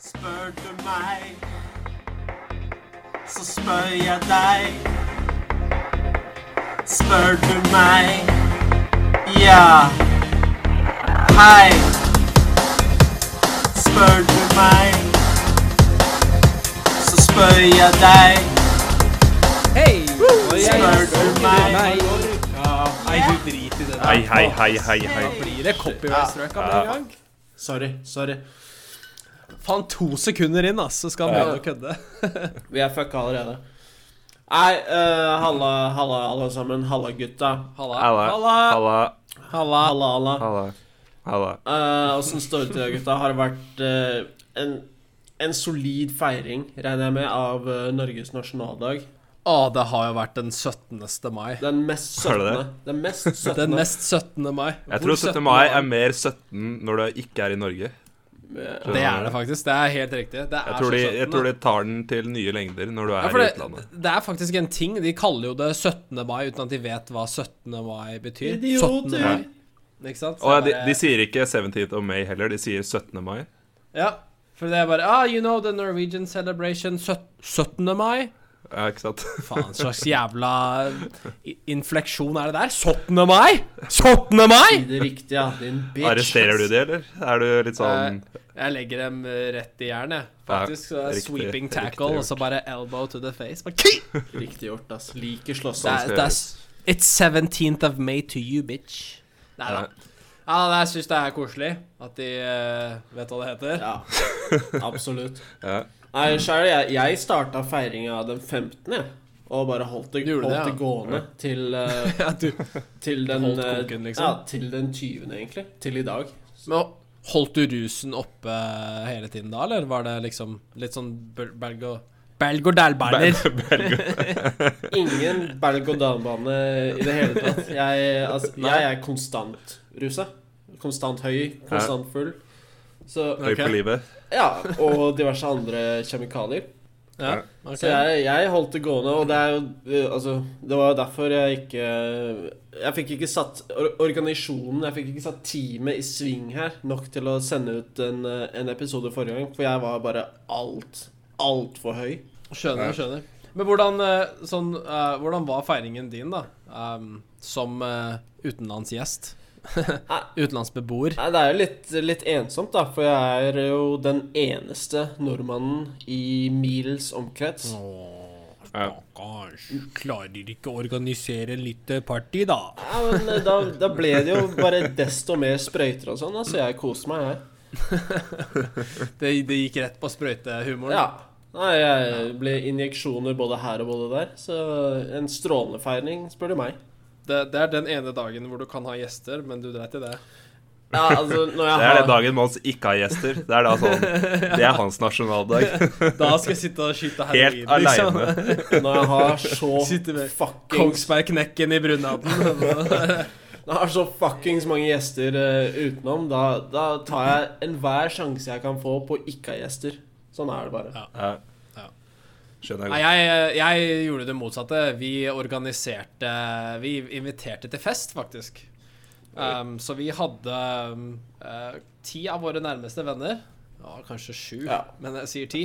Spør du meg, så spør jeg deg. Spør du meg, ja. Hei. Spør du meg, så spør jeg deg. Hei! Og jeg Spør du meg? Ja, nei, du driter i det der. Hei, hei, hei, hei, hei. Blir det copyright-strøk av det i gang? Sorry, sorry. Faen, to sekunder inn, ass, så skal han begynne å kødde. Vi er fucka allerede. Nei, eh, halla, halla, alle sammen. Halla, gutta. Halla. Halla. Halla. Halla. Halla, halla. Halla. Halla. Eh, Åssen står det til, deg, gutta? Har det vært eh, en, en solid feiring, regner jeg med, av eh, Norges nasjonaldag? Å, det har jo vært den 17. mai. Den mest Har det 17. Den mest 17. Den nest 17. mai. Jeg Hvor tror 17. mai er mer 17 når det ikke er i Norge. Eh, Det er det faktisk. Det er helt riktig. Det er Jeg tror, de, så 17. jeg tror de tar den til nye lengder når du Ja, er for i det, utlandet. det er faktisk en ting. De kaller jo det 17. mai uten at de vet hva 17. mai betyr. 17. Idioter! mai. Ikke sant? Så Og de, jeg bare- de sier ikke 17th of May heller, de sier 17. mai. Ja, for det er bare Ah, you know the Norwegian celebration søt- 17. mai? Ja, ikke sant? Faen, slags jævla i- infleksjon er det der? 17. mai?! 17. mai?! Det riktige, ja. Din bitch. Arresterer du de, eller? Er du litt sånn Eh, Jeg legger dem eh, rett i jernet, faktisk. Så det er riktig- sweeping riktig tackle, gjort. og så bare elbow to the face. Bare, ki! Riktig gjort, ass. Liker Sånn. det slåssing. er, det er, s- it's 17th of May to you, bitch. Nei da. Ja. Ja, nei, jeg syns det er koselig at de eh, vet hva det heter. Ja, absolutt. ja. Nei, sjæl, jeg, jeg starta feiringa den 15., jeg. Og bare holdt det, Du gjorde holdt det, det, ja. gående til, eh, Ja, du, til den Holdt eh, koken, liksom? Ja, til den 20., egentlig. Til i dag. Men Holdt du rusen oppe eh, hele tiden da, eller var det liksom litt sånn bel- belg og Belg og dælbæler? Ingen berg-og-dal-bane i det hele tatt. Jeg, altså, jeg er konstant rusa. Konstant høy, konstant full. Så Høy på Ok. livet. Ja, og diverse andre kjemikalier. Ja, ok. Så jeg, jeg holdt det gående, og det er jo eh, Altså, det var jo derfor jeg ikke Jeg fikk ikke satt or organisasjonen, jeg fikk ikke satt teamet i sving her nok til å sende ut en, eh, en episode forrige gang, for jeg var bare alt altfor høy. Skjønner, skjønner. Men hvordan, eh, sånn, eh, hvordan var feiringen din, da? Ehm, som eh, utenlandsgjest? Utenlandsbeboer? Nei, det er jo litt, litt ensomt, da, for jeg er jo den eneste nordmannen i mils omkrets. Stakkars. Klarer ikke å organisere en liten party, da? Ja, men eh, da, da ble det jo bare desto mer sprøyter og sånn, da, så jeg koste meg, jeg. Det, det gikk rett på sprøytehumoren? Ja. Nei, jeg ble injeksjoner både her og både der, så en strålende feiring, spør du meg. Det, det er den ene dagen hvor du kan ha gjester, men du dreit i det. Ja, altså, når jeg Det er har den dagen Mons ikke har gjester. Det er da sånn Det er hans nasjonaldag. Da skal jeg sitte og skyte heroin, Helt liksom. aleine. Når jeg har så Sitter med fuckings Kongsbergknekken i brunaden. Når jeg har så fuckings mange gjester eh, utenom, da, da tar jeg enhver sjanse jeg kan få på å ikke ha gjester. Sånn er det bare. Ja. Ja. Skjønner Nei, jeg godt. jeg, jeg gjorde det motsatte. Vi organiserte Vi inviterte til fest, faktisk. Um, så vi hadde um, eh, ti av våre nærmeste venner. Ja, kanskje sju, Ja. men jeg sier ti.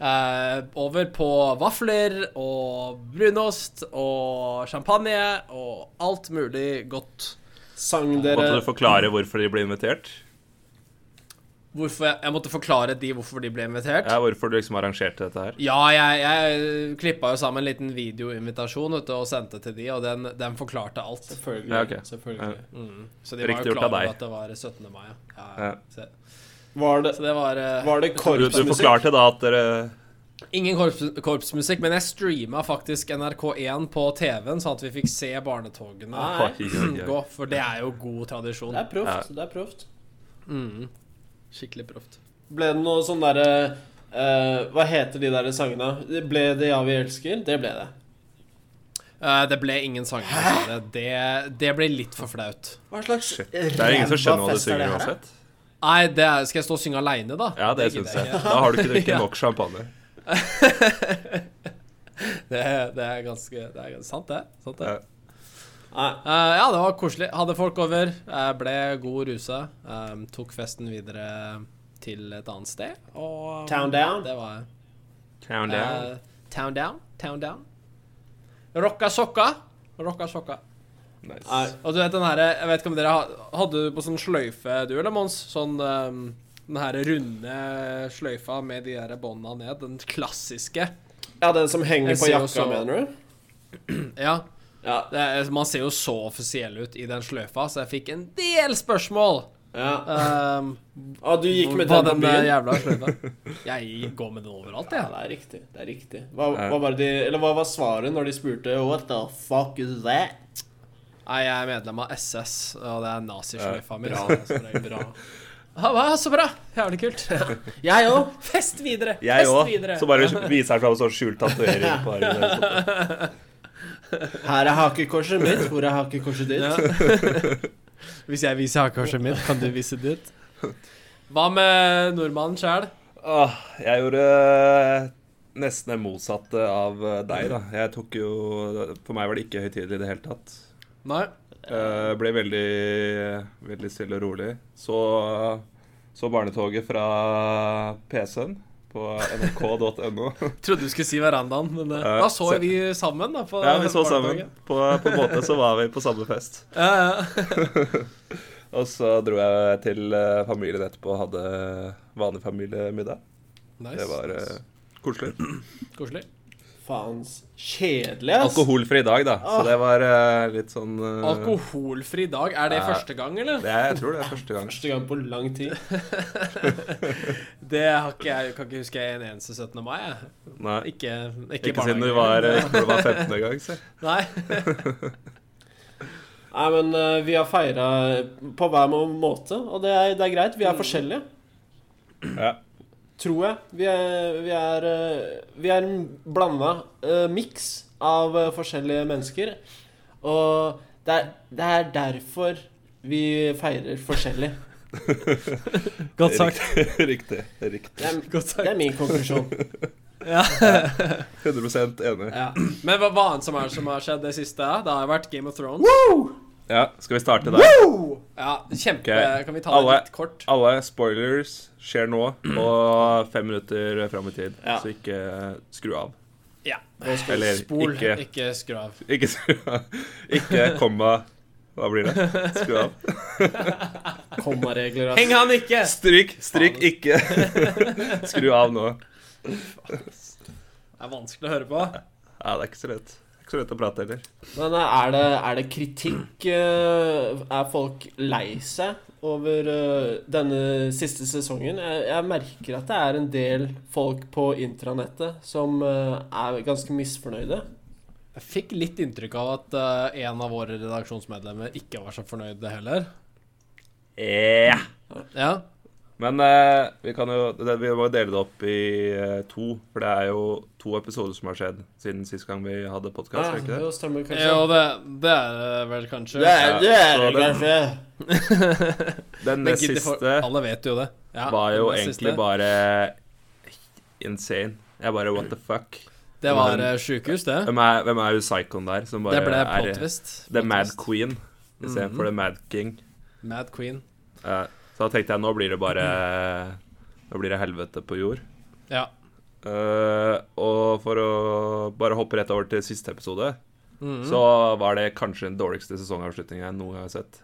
eh, over på vafler og brunost og champagne og alt mulig godt. Sang Måtte dere du forklare hvorfor de ble invitert? Hvorfor jeg, jeg måtte forklare de hvorfor de ble invitert. Ja, hvorfor du liksom arrangerte dette her? Ja, jeg, jeg klippa jo sammen en liten videoinvitasjon vet du, og sendte til de, og den, den forklarte alt. Selvfølgelig. Ja, ok. selvfølgelig. Så de var Riktig jo gjort klar av over deg. at det var 17. mai. Ja. Ja, ja. Ja. Så, Var, det, så det var, eh, var det Du, du korpsmusikk? forklarte da at dere Ingen korps, korpsmusikk, men jeg streama faktisk NRK1 på TV-en, sånn at vi fikk se barnetogene Nei. Oi, oi, gå. oi. For det er jo god tradisjon. Det er proft. Det er proft. Skikkelig proft. Ble det noe sånn derre eh, Hva heter de der sangene? Det Ble det 'Ja, vi elsker'? Det ble det. Eh, det ble ingen sanger. dessverre. Det, det ble litt for flaut. Hva slags Det er ingen som skjønner hva du fest er det synger her, da? uansett. Nei, det er, skal jeg stå og synge aleine, da? Ja, det gidder syns jeg. ikke. Da har du ikke drukket Ja. nok champagne. Det, er- det er ganske Det er sant, det. Sant, det. Ja. Nei, Eh, ja, det var koselig. Hadde folk over. eh, ble god rusa. eh, tok festen Ehm, videre til et annet sted. Og Town Down? Det var Count down. eh, Town Down. Town Down. Rocka sokka. Rocka sokka. Nei, Nice. Og du vet den her, jeg vet ikke om dere ha- Hadde du på sånn sløyfe du eller Mons? Sånn ehm, den her runde sløyfa med de der bånda ned. Den klassiske. Ja, den som henger Jeg på ser jo jakka, så- mener du? Ja. Ja. Det, er- man ser jo så offisiell ut i den sløyfa, så jeg fikk en del spørsmål. ja. Um, Ah, du gikk med hva den på der byen? jævla sløyfa. Jeg går med den overalt, Ja, jeg. det er riktig. det er riktig Hva, Ja. hva, var, det de, eller hva var svaret når de spurte What the fuck is that? Nei, jeg er medlem av SS, og det er nazisløyfa mi. så det er som regel Bra. Ja, hva, så bra! Jævlig kult. Jeg òg. Fest videre! Jeg Fest òg. videre! Så bare viser han fram sånn skjult tatovering på armen. eller sånt. Her er hakekorset mitt. Hvor er hakekorset ditt? Hvis jeg viser hakekorset mitt, kan du vise ditt? Hva med nordmannen sjæl? Åh, jeg gjorde eh, nesten det motsatte av eh, deg, da. Jeg tok jo For meg var det ikke høytidelig i det hele tatt. Nei. Eh, ble veldig, veldig stille og rolig. Så, så barnetoget fra PC-en på nrk.no. Trodde du skulle si verandaen, men eh, Eh, da så se- vi sammen. da på Ja, vi så barnetoget. sammen. På, på en måte så var vi på samme fest. Ja, ja. Og så dro jeg til eh, familien etterpå og hadde vanlig familiemiddag. Nice. Det var eh, koselig. Koselig. Faens kjedelig, ass. Alkoholfri dag, da. Så det var eh, litt sånn eh, Alkoholfri dag, er det Ja. første gang, eller? Det er, jeg tror det er første gang. Første gang på lang tid. Det har ikke jeg kan ikke huske en eneste 17. mai. Jeg. Nei, ikke, Ikke, ikke, siden du barnehagen. var, eh, ikke når du var 15. gang, så. Nei. Nei, men eh, vi har feira på hver må- måte, og det er, det er greit. Vi er forskjellige, Ja. tror jeg. Vi er, vi er, eh, vi er en blanda uh, miks av eh, forskjellige mennesker. Og det er, det er derfor vi feirer forskjellig. Godt sagt. Riktig. Riktig. riktig. Det er, Godt det sagt. er min konklusjon. Ja. 100 enig. Ja. Men hva, hva annet som er som har skjedd det siste? Det har jo vært Game of Thrones. Ja, skal vi starte der? Ja, kjempe Ok. Kan vi ta det Alle- litt kort? Alle spoilers skjer nå, og fem minutter fram i tid, Ja. så ikke eh, skru av. Ja. Eller Spol, ikke, ikke skru av. Ikke skru av. Ikke komma Hva blir det? Skru av. Kommaregler, Heng altså. han ikke! Stryk! Stryk Faen. ikke! Skru av nå. Det er vanskelig å høre på. Ja, det er ikke så lett. Det er ikke så lett å prate heller. Men eh, er det, er det kritikk? eh, Er folk lei seg over eh, denne siste sesongen? Jeg, jeg merker at det er en del folk på intranettet som eh, er ganske misfornøyde. Jeg fikk litt inntrykk av at eh, en av våre redaksjonsmedlemmer ikke var så fornøyd heller. Yeah. Ja. Men eh, vi kan jo det, Vi må jo dele det opp i eh, to, for det er jo to episoder som har skjedd siden sist gang vi hadde podkast. Ja, ikke det? jo, stemmer Ah, kanskje. Jo, det, det er det vel kanskje. det er det, er, Ja, det så kanskje. Den Men nest gidder for- siste Alle vet jo det. Ja, var jo den egentlig siste. bare insane. Jeg bare what the fuck? Det var uh, sjukehus, det. Hvem er, hvem er hun psykoen der som bare Det ble er plot-twist. The Mad Queen Mhm. istedenfor The Mad King? Mad Queen. Eh, så da tenkte jeg nå blir det bare Nå blir det helvete på jord. Ja. Eh, og for å bare hoppe rett over til siste episode, Mhm. så var det kanskje den dårligste sesongavslutningen jeg noen gang har sett.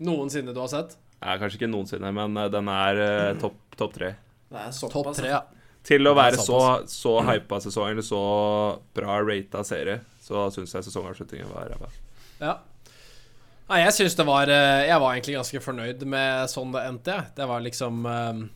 Noensinne du har sett? Eh, kanskje ikke noensinne, men eh, den er eh, Mhm. topp topp tre. Det er Topp såpass. altså. tre, ja. Til å Det er være så, så hypa sesong, eller så bra rata serie, så syns jeg sesongavslutningen var ræva. Ja. Nei, jeg syns det var eh, Jeg var egentlig ganske fornøyd med sånn det endte, jeg. Det var liksom eh,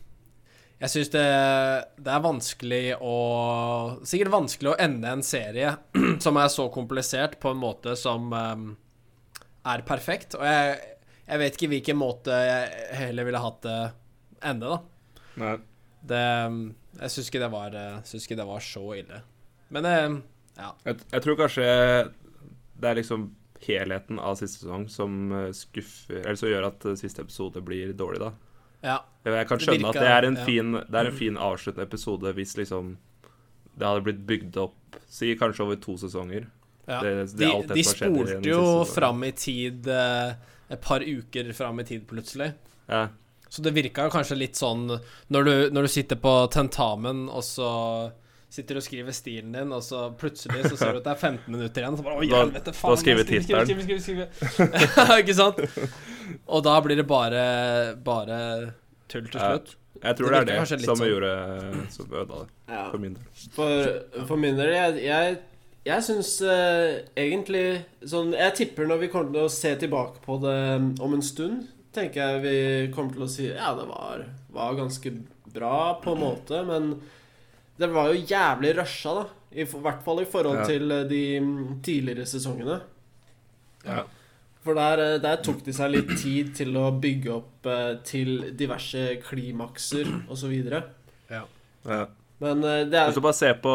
Jeg syns det, det er vanskelig å Sikkert vanskelig å ende en serie som er så komplisert, på en måte som eh, er perfekt. Og jeg, jeg vet ikke hvilken måte jeg heller ville hatt det ende, da. Nei. Det, jeg syns ikke, det var, eh, syns ikke det var så ille. Men eh, Jeg, jeg tror kanskje det er liksom helheten av siste sesong som eh, skuffer Eller som gjør at eh, siste episode blir dårlig, da. ja. Jeg jeg kan Det skjønne at virker- det er en ja. Mm. fin, det er en fin avsluttende episode hvis liksom det hadde blitt bygd opp Si kanskje over to sesonger. Ja. Det- det er de alt det de som har skjedd i den spolte siste jo sesongen. fram i tid eh, et par uker fram i tid, plutselig. Ja, Så det virka jo kanskje litt sånn når du, når du sitter på tentamen, og så sitter du og skriver stilen din, og så plutselig så ser du at det er 15 minutter igjen, og så bare Å, Da- helvete, da faen. skriver jeg skriver, skriver, skriver, skriver, skriver. Ikke sant? Og da blir det bare, bare tull til Ja. slutt. Jeg tror Det det, er det virker kanskje litt som sånn. gjorde eh, Som ødela det, Ja. for min del. For, for min del, jeg, jeg, jeg syns eh, egentlig sånn Jeg tipper når vi kommer til å se tilbake på det mm, om en stund, tenker jeg vi kommer til å si ja, det var, var ganske bra på en måte, men det var jo jævlig rusha, da. I f- hvert fall i forhold Ja. til eh, de mm, tidligere sesongene. Ja. For der, eh, der tok de seg litt tid til å bygge opp eh, til diverse klimakser osv. Ja. Men eh, det Hvis er du bare ser på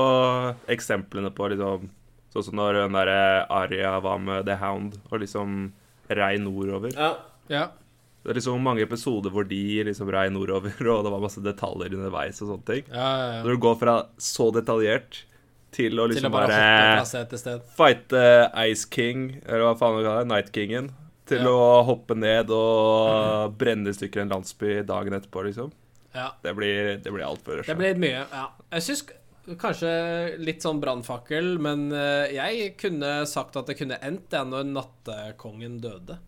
eksemplene på liksom Sånn som når den der Arya var med The Hound og liksom rei nordover. ja, Ja. Det er liksom mange episoder hvor de liksom rei nordover, og det var masse detaljer underveis og sånne ting. Ja, ja, ja. Når du går fra så detaljert til å Til liksom å bare bare, hoppe fra sted til sted. fighte Ice King, eller hva faen du kaller det, Night Kingen, til Ja. å hoppe ned og brenne i stykker en landsby dagen etterpå, liksom. Ja. Det blir, det blir altfor Det rusha. blir mye, ja. Jeg syns kanskje litt sånn brannfakkel, men eh, jeg kunne sagt at det kunne endt det når nattekongen døde.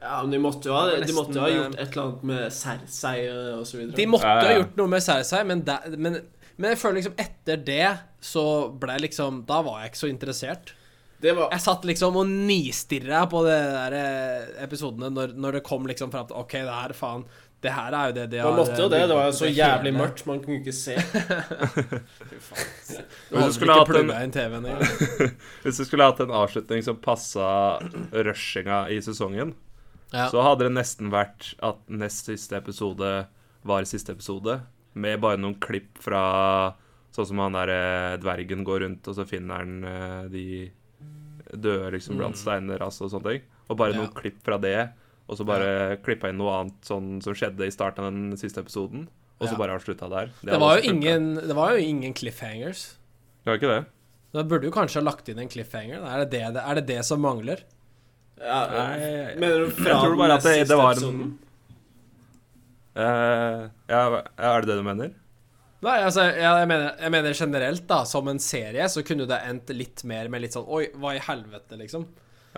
Ja, men de måtte jo ha, Det var de måtte jo ha nesten, gjort et eller annet med Cersei og så videre. De måtte Ja, ja. ha gjort noe med Cersei, men, der- men, men jeg føler liksom etter det så ble jeg liksom Da var jeg ikke så interessert. det var, Jeg satt liksom og nistirra på de der eh, episodene når, når det kom liksom fram til OK, det her, faen. Det her er jo det de har man måtte jo det. Det var jo så bygget opp jævlig hele- mørkt. Man kunne ikke se. Du Hvis du hadde skulle ikke hatt en- plugga inn TV-en engang. Hvis du skulle hatt en avslutning som passa rushinga i sesongen, Ja. så hadde det nesten vært at nest siste episode var siste episode, med bare noen klipp fra sånn som han der eh, dvergen går rundt, og så finner han eh, de døde liksom blant steiner altså, og sånne ting. Og bare Mm. Ja. noen klipp fra det, og så bare klippa inn noe annet sånn som skjedde i starten av den siste episoden, og så Ja. bare avslutta der. Det, hadde var også jo funket. ingen, det var jo ingen cliffhangers. Det var ikke det? Da burde du kanskje ha lagt inn en cliffhanger. Er det det, er det, det som mangler? Ja, Nei, mener du fra jeg tror den bare at det- siste det var en- episoden? Eh, ja, er det det du mener? Nei, altså, jeg, jeg, mener, jeg mener generelt, da, som en serie, så kunne det endt litt mer med litt sånn Oi, hva i helvete, liksom?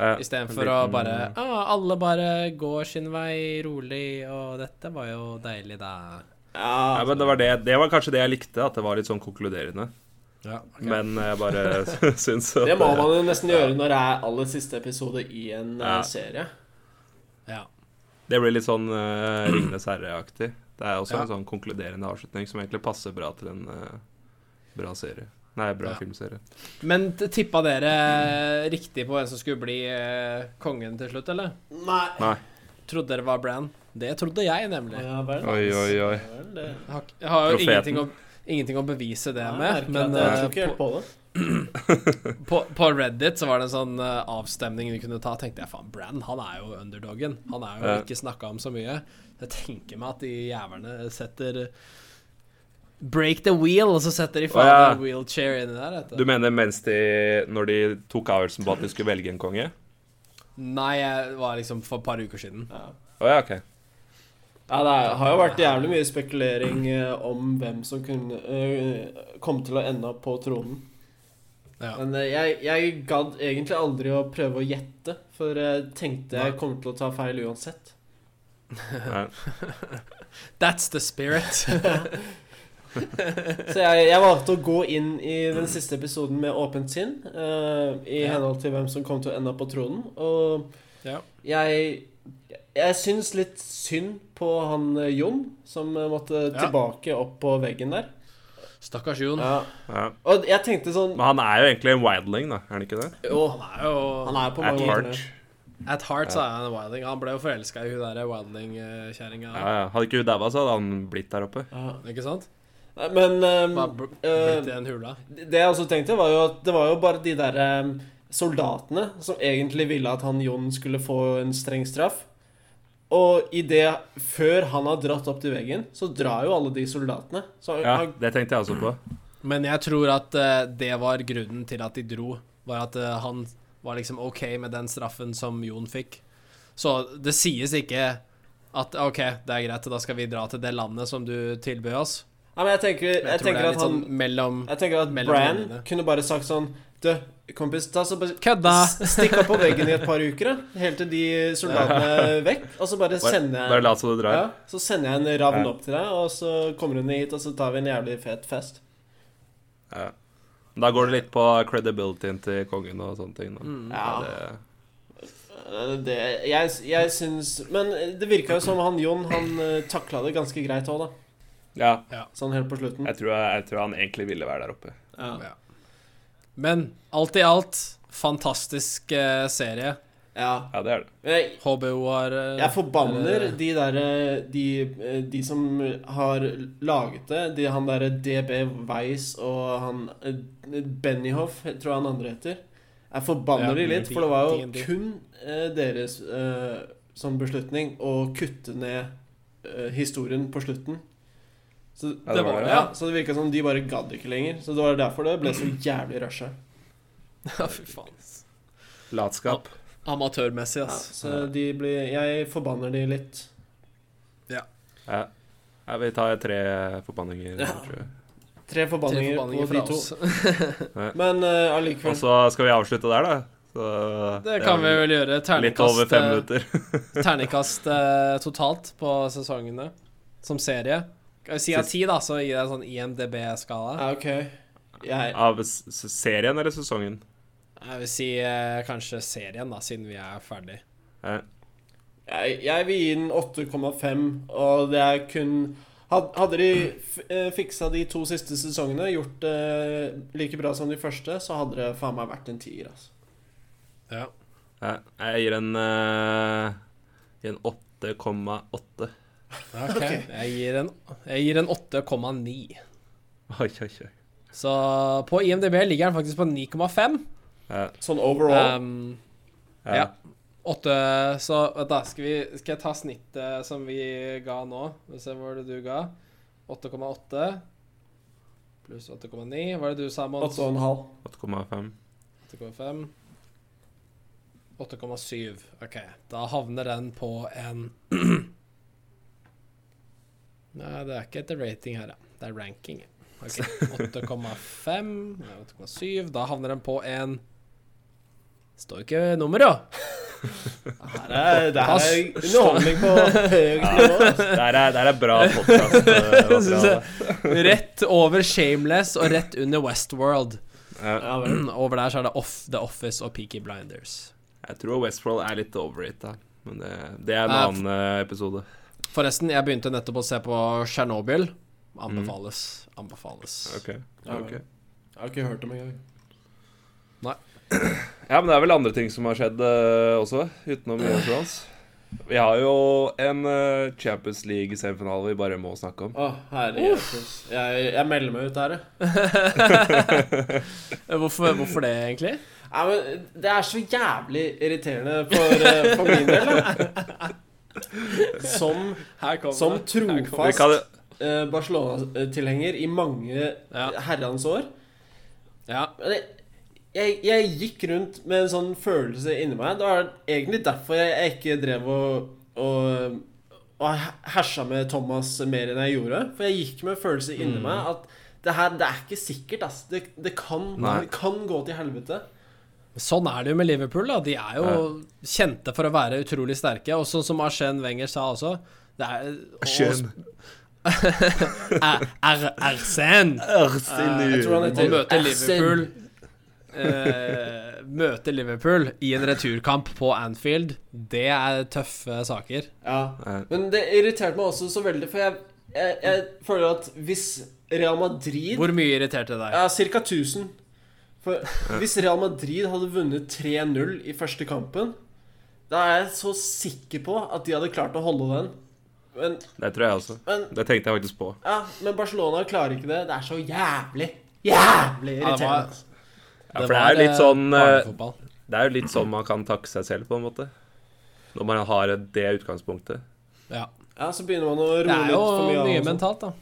Eh, Istedenfor en å liten- bare ah, Alle bare går sin vei rolig, og dette var jo deilig, da. Ja, Ja, men det var, det, det var kanskje det jeg likte, at det var litt sånn konkluderende. Ja, Men jeg bare syns at det må man jo nesten gjøre når det er aller siste episode i en eh, Ja. serie. ja. Det blir litt sånn uh, Ringenes herre-aktig. Det er også Ja. en sånn konkluderende avslutning som egentlig passer bra til en eh, bra serie. Nei, bra Ja. filmserie. Men t- tippa dere eh, riktig på hvem som skulle bli eh, kongen til slutt, eller? Nei. Nei. Trodde dere var Bran? Det trodde jeg, nemlig. Ja, vel, Oi, oi, oi. Ja, vel, det- Jeg har, jeg har jo Profeten. ingenting å, ingenting å bevise det Jeg med, merker men at jeg eh, tror ikke helt på, på det. på, på Reddit så var det en sånn eh, avstemning vi kunne ta. tenkte jeg, faen, Brann han er jo underdogen. Han er jo Ja. ikke snakka om så mye. Jeg tenker meg at de jævlene setter Break the wheel, og så setter de faen ja. en wheelchair inni der. vet Du mener mens de Når de tok avgjørelsen på at de skulle velge en konge? Nei, jeg var liksom for et par uker siden. Ja. Å ja, OK. Ja, det er- har jo vært jævlig mye spekulering eh, om hvem som kunne eh, kom til å ende opp på tronen. Ja. Men eh, jeg, jeg gadd egentlig aldri å prøve å gjette, for jeg tenkte jeg kom til å ta feil uansett. Nei. That's the spirit. Så jeg, jeg valgte å gå inn i den siste episoden med åpent sinn, eh, i Ja. henhold til hvem som kom til å ende opp på tronen. Og ja. Jeg Jeg syns litt synd på han eh, Jon, som eh, måtte Ja. tilbake opp på veggen der. Stakkars Jon. Ja. Ja. Og jeg tenkte sånn Men han er jo egentlig en wildling, da. Er han ikke det? Jo, Han er jo han er på At mange måter heart. det. At heart så er han en wilding. Han ble jo forelska i hun derre wilding-kjerringa. Ja, ja. Hadde ikke hun daua, så hadde han blitt der oppe. Ja. Ikke sant? Nei, Men ehm, Bare bl- eh, blitt i den hula. det jeg også tenkte, var jo at det var jo bare de der ehm, soldatene som egentlig ville at han Jon skulle få en streng straff. Og i det, før han har dratt opp til veggen, så drar jo alle de soldatene. Så han, Ja, han, Det tenkte jeg også på. Men jeg tror at eh, det var grunnen til at de dro. Var at eh, han var liksom OK med den straffen som Jon fikk. Så det sies ikke At OK, det er greit, da skal vi dra til det landet som du tilbød oss. Nei, men jeg tenker, Men Jeg jeg tror det tenker er at litt han sånn mellom Jeg tenker at mellom Bran linjene. kunne bare sagt sånn Du, kompis, ta så bare Kødda! s- Stikk opp på veggen i et par uker, da. Helt til de soldatene er vekk. Og så bare Bare, sender bare jeg lat som du drar. ja, Så sender jeg en ravn Ja. opp til deg, og så kommer hun hit, og så tar vi en jævlig fet fest. Ja. Da går det litt på credibilityen til kongen og sånne ting. Da. Mm. Ja. Det, Eh, Det, jeg, jeg syns Men det virka jo som han Jon Han eh, takla det ganske greit òg, da. ja Sånn helt på slutten. jeg, tror, jeg tror han egentlig ville være der oppe. Ja. Ja. Men alt i alt, fantastisk eh, serie. ja. Ja, det er det. Men jeg, HBO har eh, jeg forbanner eller- de derre de, eh, de som har laget det. De, han derre DB Weiss og han eh, Bennyhoff, tror jeg han andre heter. Jeg forbanner Ja, de litt, for det var jo D&D. kun eh, deres eh, sånn beslutning å kutte ned eh, historien på slutten. Så Ja, det var det. Ja, så det virka som de bare gadd ikke lenger. Så det var derfor det ble så jævlig rushet. Ja, fy faen. Latskap. Amatørmessig, Ja, ass. så de blir Jeg forbanner de litt. Ja. Ja, vi tar tre forbanninger. Ja. tror jeg. Tre Tre forbanninger, forbanninger på de fra to. oss. Men eh, allikevel Og så skal vi avslutte der, da. Så, Det kan vi vel gjøre. Litt over Terningkast, fem eh, minutter. terningkast eh, totalt på sesongene som serie. Kan vi Si av Sist- ti, da, så gir jeg en sånn IMDb-skala. Ja, OK. Jeg Av s s- serien eller sesongen? Jeg vil si eh, kanskje serien, da, siden vi er ferdig. Ja. Jeg, jeg vil gi den 8,5, og det er kun had- Hadde de f eh, fiksa de to siste sesongene, gjort det like bra som de første, så hadde det faen meg vært en tier, altså. Ja. Ja. Jeg gir en, eh, gir en 8,8. Ok. Jeg gir en, jeg gir en 8,9. Oi, oi, oi. Så på IMDb ligger den faktisk på 9,5. Ja. Sånn overall. Um, Ja. Ja. åtte Så vent, da. Skal, vi, skal jeg ta snittet som vi ga nå? Skal vi se hva var det du ga. 8,8 pluss 8,9. Hva er det du sa, Mons? 8,5. 8,5. 8,5. 8,7. OK. Da havner den på en Nei, det er ikke etter rating her, ja. Det er ranking. Ok, 8,5 Nei, 8,7. Da havner den på en Står ikke nummer, jo. Det er, det er Pass. underholdning på høyt nivå. altså. Der er, der er bra eh, podkast. Rett over Shameless og rett under Westworld. Ja. Ja, vel. Over der så er det off, The Office og Peaky Blinders. Jeg tror Westworld er litt overrated, men det, det er en Ja, annen eh, episode. Forresten, jeg begynte nettopp å se på Tsjernobyl. Anbefales. Anbefales. Ok, Ja, ok. Jeg har ikke hørt om engang. Ja, men det er vel andre ting som har skjedd eh, også, utenom Game of Thrones. Vi har jo en eh, Champions League-semifinale vi bare må snakke om. Å, herre Jesus. Jeg, jeg melder meg ut der, jeg. Eh, Hvorfor, hvorfor det, egentlig? Nei, men det er så jævlig irriterende for, eh, for min del, da. Som, Her kommer Sånn. som Vi trofast kan, eh, Barcelona-tilhenger i mange Ja. herrens år. Ja. Men jeg, jeg, jeg gikk rundt med en sånn følelse inni meg. Det var egentlig derfor jeg, jeg ikke drev og, og, og hersa med Thomas mer enn jeg gjorde. For jeg gikk med en følelse inni Mm. meg at det her det er ikke sikkert, ass. Det, det, kan, Nei. det kan gå til helvete. Sånn er det jo med Liverpool. da De er jo kjente for å være utrolig sterke. Og sånn som Arsène Wenger sa også det er, Er- er- Arsène! Eh, Jeg tror han Å heter møte Arsene. Liverpool eh, Møte Liverpool i en returkamp på Anfield, det er tøffe saker. Ja. Men det irriterte meg også så veldig, for jeg, jeg, jeg føler at hvis Real Madrid Hvor mye irriterte deg? Ja, ca. 1000. For hvis Real Madrid hadde vunnet 3-0 i første kampen, da er jeg så sikker på at de hadde klart å holde den. Men, Det tror jeg også. men, Det tenkte jeg faktisk på. ja, men Barcelona klarer ikke det. Det er så jævlig, jævlig Ja, det var- irriterende. altså. Ja, for det er jo litt eh, sånn eh, barnefotball. Det er jo litt sånn man kan takke seg selv, på en måte. Når man har det utgangspunktet. Ja. Ja, så begynner man å Det roe er litt jo for mye. mye altså. av og sånt. mentalt, da.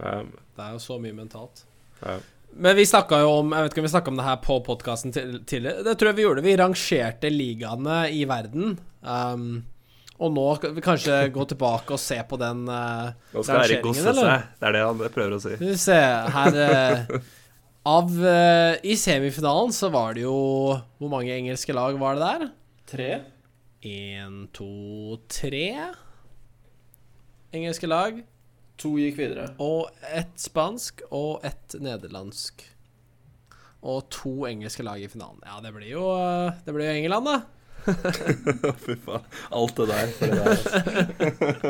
Ja, Det er jo så mye mentalt. ja. Men vi snakka jo om Jeg vet ikke om vi snakka om det her på podkasten tidligere. Det tror jeg vi gjorde. Vi rangerte ligaene i verden. Um, Og nå skal vi kanskje gå tilbake og se på den eh, Nå skal Erik rangeringen, gosse eller? seg. Det er det han prøver å si. Skal vi se her eh, Av eh, I semifinalen så var det jo Hvor mange engelske lag var det der? sånn. Tre? Én, to, tre engelske lag. To gikk videre. Og ett spansk og ett nederlandsk. Og to engelske lag i finalen. Ja, det blir jo, eh, det blir jo England, da. Fy faen. Alt det der. For det der altså.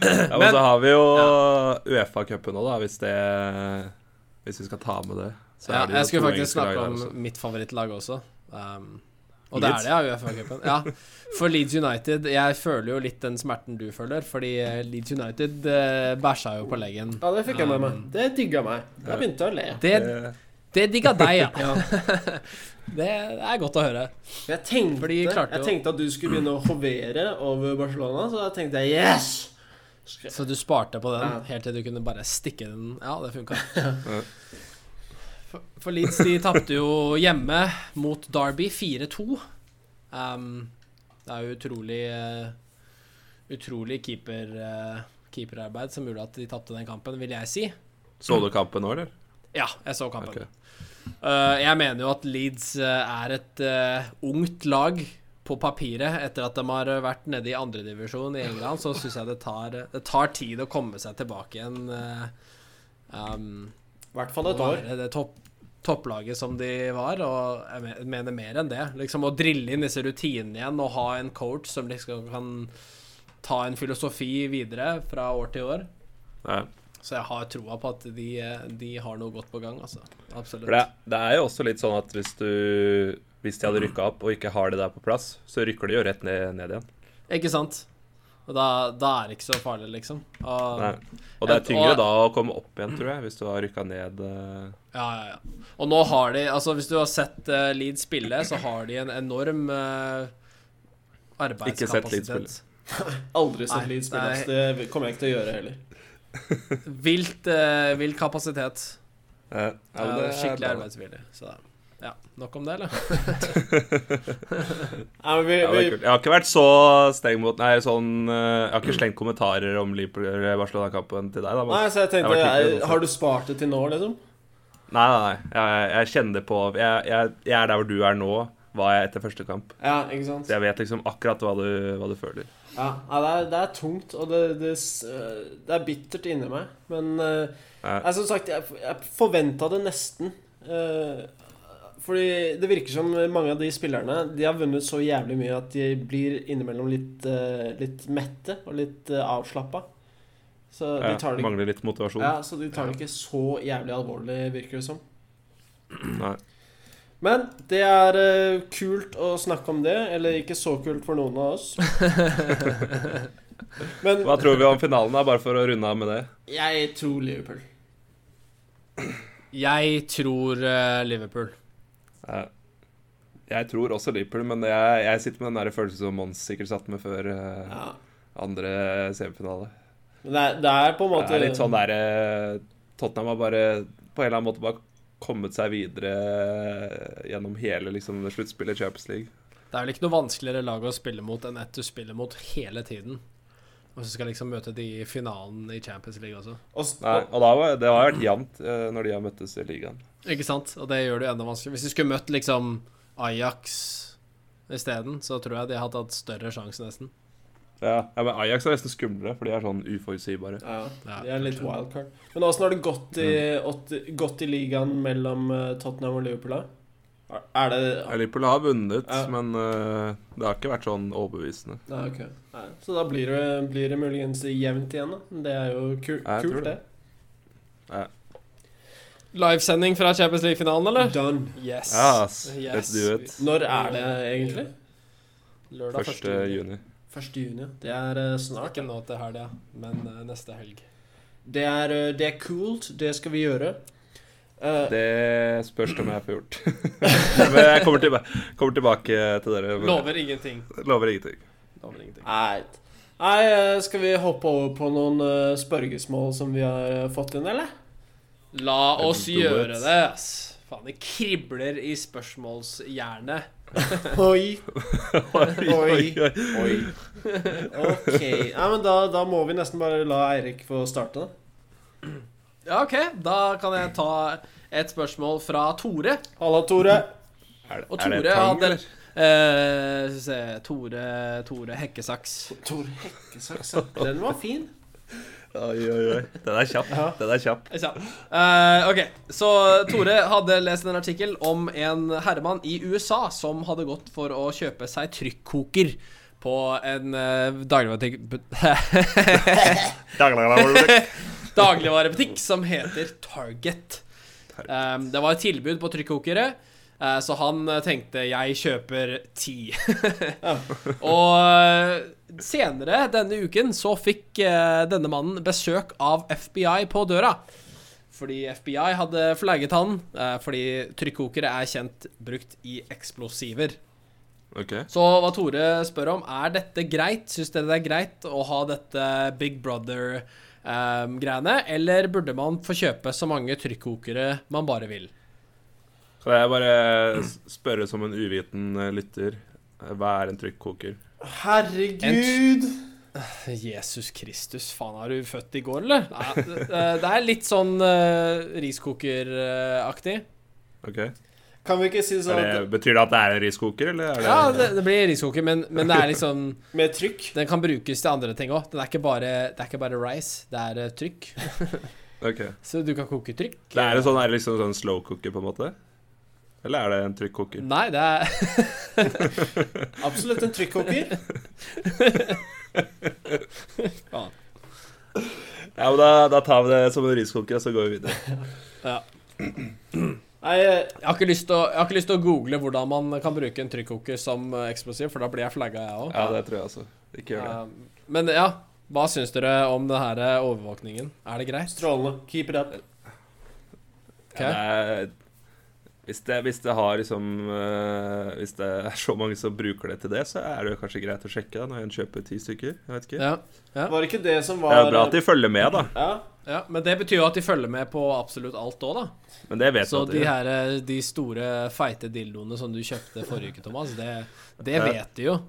ja, men, Men- så har vi jo Uefa-cupen òg, da, hvis det Hvis vi skal ta med det. Så Ja, er det jo jeg skulle to faktisk engelske lag snakke der altså. om også. mitt favorittlag også. Um, og Leeds? det er det, ja, UFA-cupen. Ja, for Leeds United Jeg føler jo litt den smerten du føler, fordi eh, Leeds United eh, bæsja jo på leggen. Ja, det fikk jeg med meg. Det digga meg. Jeg begynte å le. Det, Det- det digga deg, ja. Ja. Det er godt å høre. Jeg tenkte, For de klarte jeg jo- tenkte at du skulle begynne å hovere over Barcelona, så da tenkte jeg yes! Skal- Så du sparte på den Ja. helt til du kunne bare stikke den Ja, det funka. Ja. For, for Leeds de tapte jo hjemme mot Derby 4-2. Um, det er jo utrolig eh, Utrolig keeper, eh, keeperarbeid som gjorde at de tapte den kampen, vil jeg si. Så du kampen nå, eller? Ja, jeg så kampen. Ok. Eh, jeg mener jo at Leeds eh, er et eh, ungt lag på papiret. Etter at de har eh, vært nede i andredivisjon i England, så syns jeg det tar, eh, det tar tid å komme seg tilbake igjen. eh, um, I hvert fall et å år. være Det topp, topplaget som de var, og jeg me- mener mer enn det. Liksom Å drille inn disse rutinene igjen og ha en coach som liksom kan ta en filosofi videre fra år til år. Ja. Så jeg har troa på at de, eh, de har noe godt på gang, altså. Absolutt. For det, det er jo også litt sånn at hvis du Hvis de hadde rykka opp og ikke har det der på plass, så rykker de jo rett ned, ned igjen. Ikke sant? Og da, da er det ikke så farlig, liksom. Og, Nei. Og det er Og- tyngre da å komme opp igjen, tror jeg, hvis du har rykka ned eh, Ja, ja, ja. Og nå har de Altså, hvis du har sett eh, Leeds spille, så har de en enorm eh, Ikke sett Leeds arbeidskapasitet. Aldri Nei, sett Leeds spille, nei. ass. Det kommer jeg ikke til å gjøre heller. Vilt, eh, vilt kapasitet. eh, ja, men Eh, det er skikkelig bra. arbeidsvillig. Så ja. Nok om det, eller? Ja, men vi, Ja, det er vi, kult. Jeg har ikke vært så streng mot Nei, sånn eh, Jeg har ikke slengt kommentarer om Liverpool- eller Barcelona-kampen til deg, da. nei, Men, så Jeg jeg har tenkte vært hyggelig er- også. Har du spart det til nå, liksom? nei, nei. nei. Jeg, jeg kjenner på jeg, jeg, jeg er der hvor du er nå, var jeg etter første kamp. Ja, ikke sant? Så jeg vet liksom akkurat hva du, hva du føler. Ja, ja det, er, det er tungt, og det, det, s- øh, det er bittert inni meg. Men øh, Ja. jeg, som sagt, jeg, jeg forventa det nesten. øh, fordi det virker som mange av de spillerne De har vunnet så jævlig mye at de blir innimellom litt, øh, litt mette og litt uh, avslappa. Så de Ja, tar det, mangler litt motivasjon. ja, så de tar det ikke så jævlig alvorlig, virker det som. Nei. Men det er eh, kult å snakke om det, eller ikke så kult for noen av oss. Men Hva tror vi om finalen, da, bare for å runde av med det? jeg tror Liverpool. Jeg tror eh, Liverpool. Ja. Jeg tror også Liverpool, men jeg, jeg sitter med den der følelsen som Mons sikkert satt med før eh, Ja. andre semifinale. Men det er, det er på en måte Det er litt sånn der eh, Tottenham har bare på en eller annen måte bare kommet seg videre eh, gjennom hele liksom, sluttspillet i Champions League. Det er vel ikke noe vanskeligere lag å spille mot enn ett du spiller mot hele tiden. Og så skal liksom møte de i finalen i Champions League også. og, s- Nei, og da, var- det har vært jevnt eh, når de har møttes i ligaen. Ikke sant? Og det gjør det jo enda vanskeligere. Hvis de skulle møtt liksom Ajax isteden, så tror jeg de hadde hatt større sjanse, nesten. Ja, ja, men Ajax er nesten skumlere, for de er sånn uforutsigbare. ja, Ja, det er litt kanskje. wildcard. Men åssen har det gått i, Mm. åt- gått i ligaen mellom eh, Tottenham og Liverpool, da? Er det Ja, Liverpool har vunnet, Ja. men eh, det har ikke vært sånn overbevisende. Nei, ok. Nei. Så da blir det, blir det muligens jevnt igjen, da. Det er jo ku, Ja, jeg tror kult, det. det. Ja. Livesending fra Champions League-finalen, eller? Done. Yes. Ja, ass. Let's do it. Når er det egentlig? Lørdag 1. 1. juni. juni. 1. juni. ja. Det er eh, snart. Ikke nå til helga, men eh, neste helg. Det er, eh, det er kult, det skal vi gjøre. Eh, Det spørs om jeg får gjort. Men jeg kommer, tilba kommer tilbake til dere. med- Lover ingenting. Lover ingenting. Lover ingenting. Nei, nei, eh, skal vi hoppe over på noen eh, spørgesmål som vi har eh, fått inn, eller? La oss Let's do gjøre it. det, ass. Faen, det kribler i spørsmålshjernet. Oi, Oi, oi, oi. oi. Ok. Ja, men da, da må vi nesten bare la Eirik få starte, da. Ja, OK. Da kan jeg ta et spørsmål fra Tore. Halla, Tore. Er, det- Og er Tore det tang, hadde eller? eh, skal vi se, Tore, Tore Hekkesaks. Tore Hekkesaks, ja. Den var fin. Oi, oi, oi. Den er kjapp. Ja. Den er kjapp. Ja. Eh, ok, så Tore hadde lest en artikkel om en herremann i USA som hadde gått for å kjøpe seg trykkoker på en uh, dagligvarebutikk dagligvarebutikk som heter Target. Um, det var et tilbud på trykkokere, eh, så han eh, tenkte 'jeg kjøper ti'. Og eh, senere denne uken så fikk eh, denne mannen besøk av FBI på døra. Fordi FBI hadde flagget han, eh, fordi trykkokere er kjent brukt i eksplosiver. OK. Så hva Tore spør om, er dette greit? Syns dere det er greit å ha dette Big Brother-greiene? eller burde man få kjøpe så mange trykkokere man bare vil? Kan jeg bare s- spørre som en uviten eh, lytter eh, Hva er en trykkoker? Herregud. Jesus Kristus, faen, er du født i går, eller? Nei, det, det er litt sånn eh, riskokeraktig. OK? Kan vi ikke si Er sånn det, at betyr det at det er en riskoker, eller er det Ja, det, det blir riskoker, men, men det er liksom med trykk? Den kan brukes til andre ting òg. Det er ikke bare, det er ikke bare rice, det er eh, trykk. Ok. Så du kan koke trykk. Det er en sånn, er det liksom sånn slowcooker, på en måte? Eller er det en trykkoker? Nei, det er Absolutt en trykkoker. Ja, men da, da tar vi det som en riskoker, og så går vi videre. ja. Nei, eh, Jeg har, ikke lyst til å, jeg har ikke lyst til å google hvordan man kan bruke en trykkoker som eh, eksplosiv, for da blir jeg flagga, jeg òg. Ja, det tror jeg altså. Ikke gjør det. men ja, hva syns dere om det her eh, overvåkningen? Er det greit? strålende. Keep it up. Ok. Ja, det er, hvis, det, hvis det har liksom eh, Hvis det er så mange som bruker det til det, så er det jo kanskje greit å sjekke da, når en kjøper ti stykker. Jeg vet ikke. Ja, Var det ikke det som Det er var jo bra at de følger med, da. Ja. ja, Men det betyr jo at de følger med på absolutt alt òg, da. Men det vet Så vi de at de gjør. her, eh, de store, feite dildoene som du kjøpte forrige uke, Thomas, det, det vet de jo.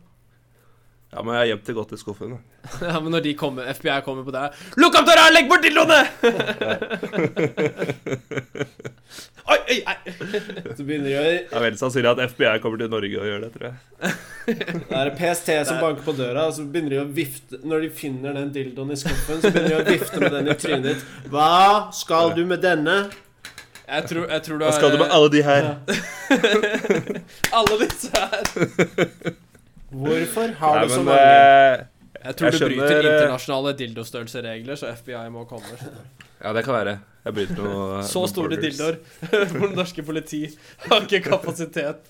Ja, men jeg har gjemt det godt i skuffen. da. Ja, Men når de kommer, FBI kommer på deg Lukk opp døra! Legg bort dildoene! oi, oi, oi. Så begynner de å Det er veldig sannsynlig at FBI kommer til Norge og gjør det, tror jeg. Det er PST som banker på døra, og så begynner de å vifte Når de finner den dildoen i skuffen, så begynner de å vifte med den i trynet ditt. Hva skal du med denne? Jeg tror, jeg tror du Hva har- eh, skal du med alle de her? alle disse her? Hvorfor har du Nei, så men, mange? eh, Jeg tror Jeg du skjønner, bryter eh, internasjonale dildostørrelseregler, så FBI må komme. Ja, det kan være. Jeg bryter noe Så noen store borders. dildoer hvor det norske politi har ikke kapasitet.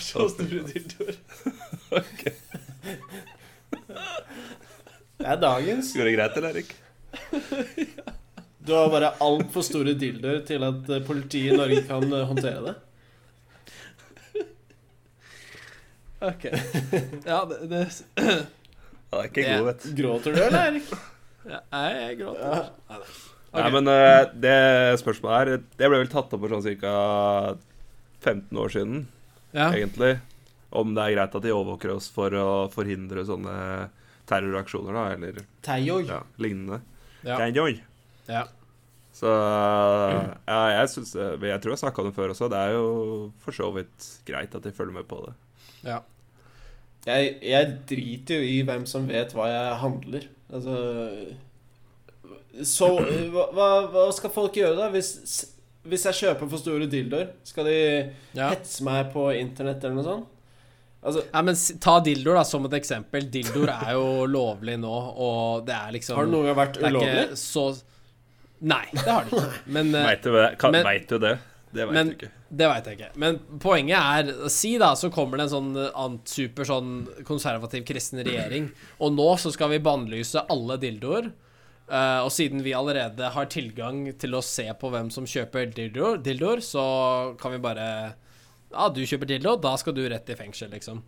Så store dildoer. Det er dagens. Går det greit, eller, Erik? Du har bare altfor store dildoer til at eh, politiet i Norge kan eh, håndtere det. Ok. Ja, det, det Ja, det er ikke Det- god, vet du. Gråter du, eller, Erik? ja, Jeg gråter. Nei, nei. Nei, Ok. men eh, det spørsmålet her Det ble vel tatt opp for sånn ca. 15 år siden, Ja. egentlig. Om det er greit at de overvåker oss for å forhindre sånne terroraksjoner, da, eller Teioi. ja, lignende. Ja. Det er en joy. Ja. Så ja, jeg syns det- Jeg tror jeg snakka om det før også. Det er jo for så vidt greit at de følger med på det. ja. Jeg, jeg driter jo i hvem som vet hva jeg handler. Altså Så hva, hva- hva skal folk gjøre, da? Hvis, hvis jeg kjøper for store dildoer, skal de ja. hetse meg på internett eller noe sånt? Altså, Nei, men s- Ta dildoer da, som et eksempel. Dildoer er jo lovlig nå, og det er liksom har det noen gang vært det er ulovlig? Ikke så... Nei, det har det ikke. Men eh, Veit du det? Kan- men- vet du det? Det veit men- du ikke. Det veit jeg ikke. Men poenget er Si da, så kommer det en sånn eh, ant- super sånn konservativ kristen regjering, og nå så skal vi bannlyse alle dildoer. Eh, og siden vi allerede har tilgang til å se på hvem som kjøper dildoer, dildoer så kan vi bare Ja, du kjøper dildo, da skal du rett i fengsel, liksom.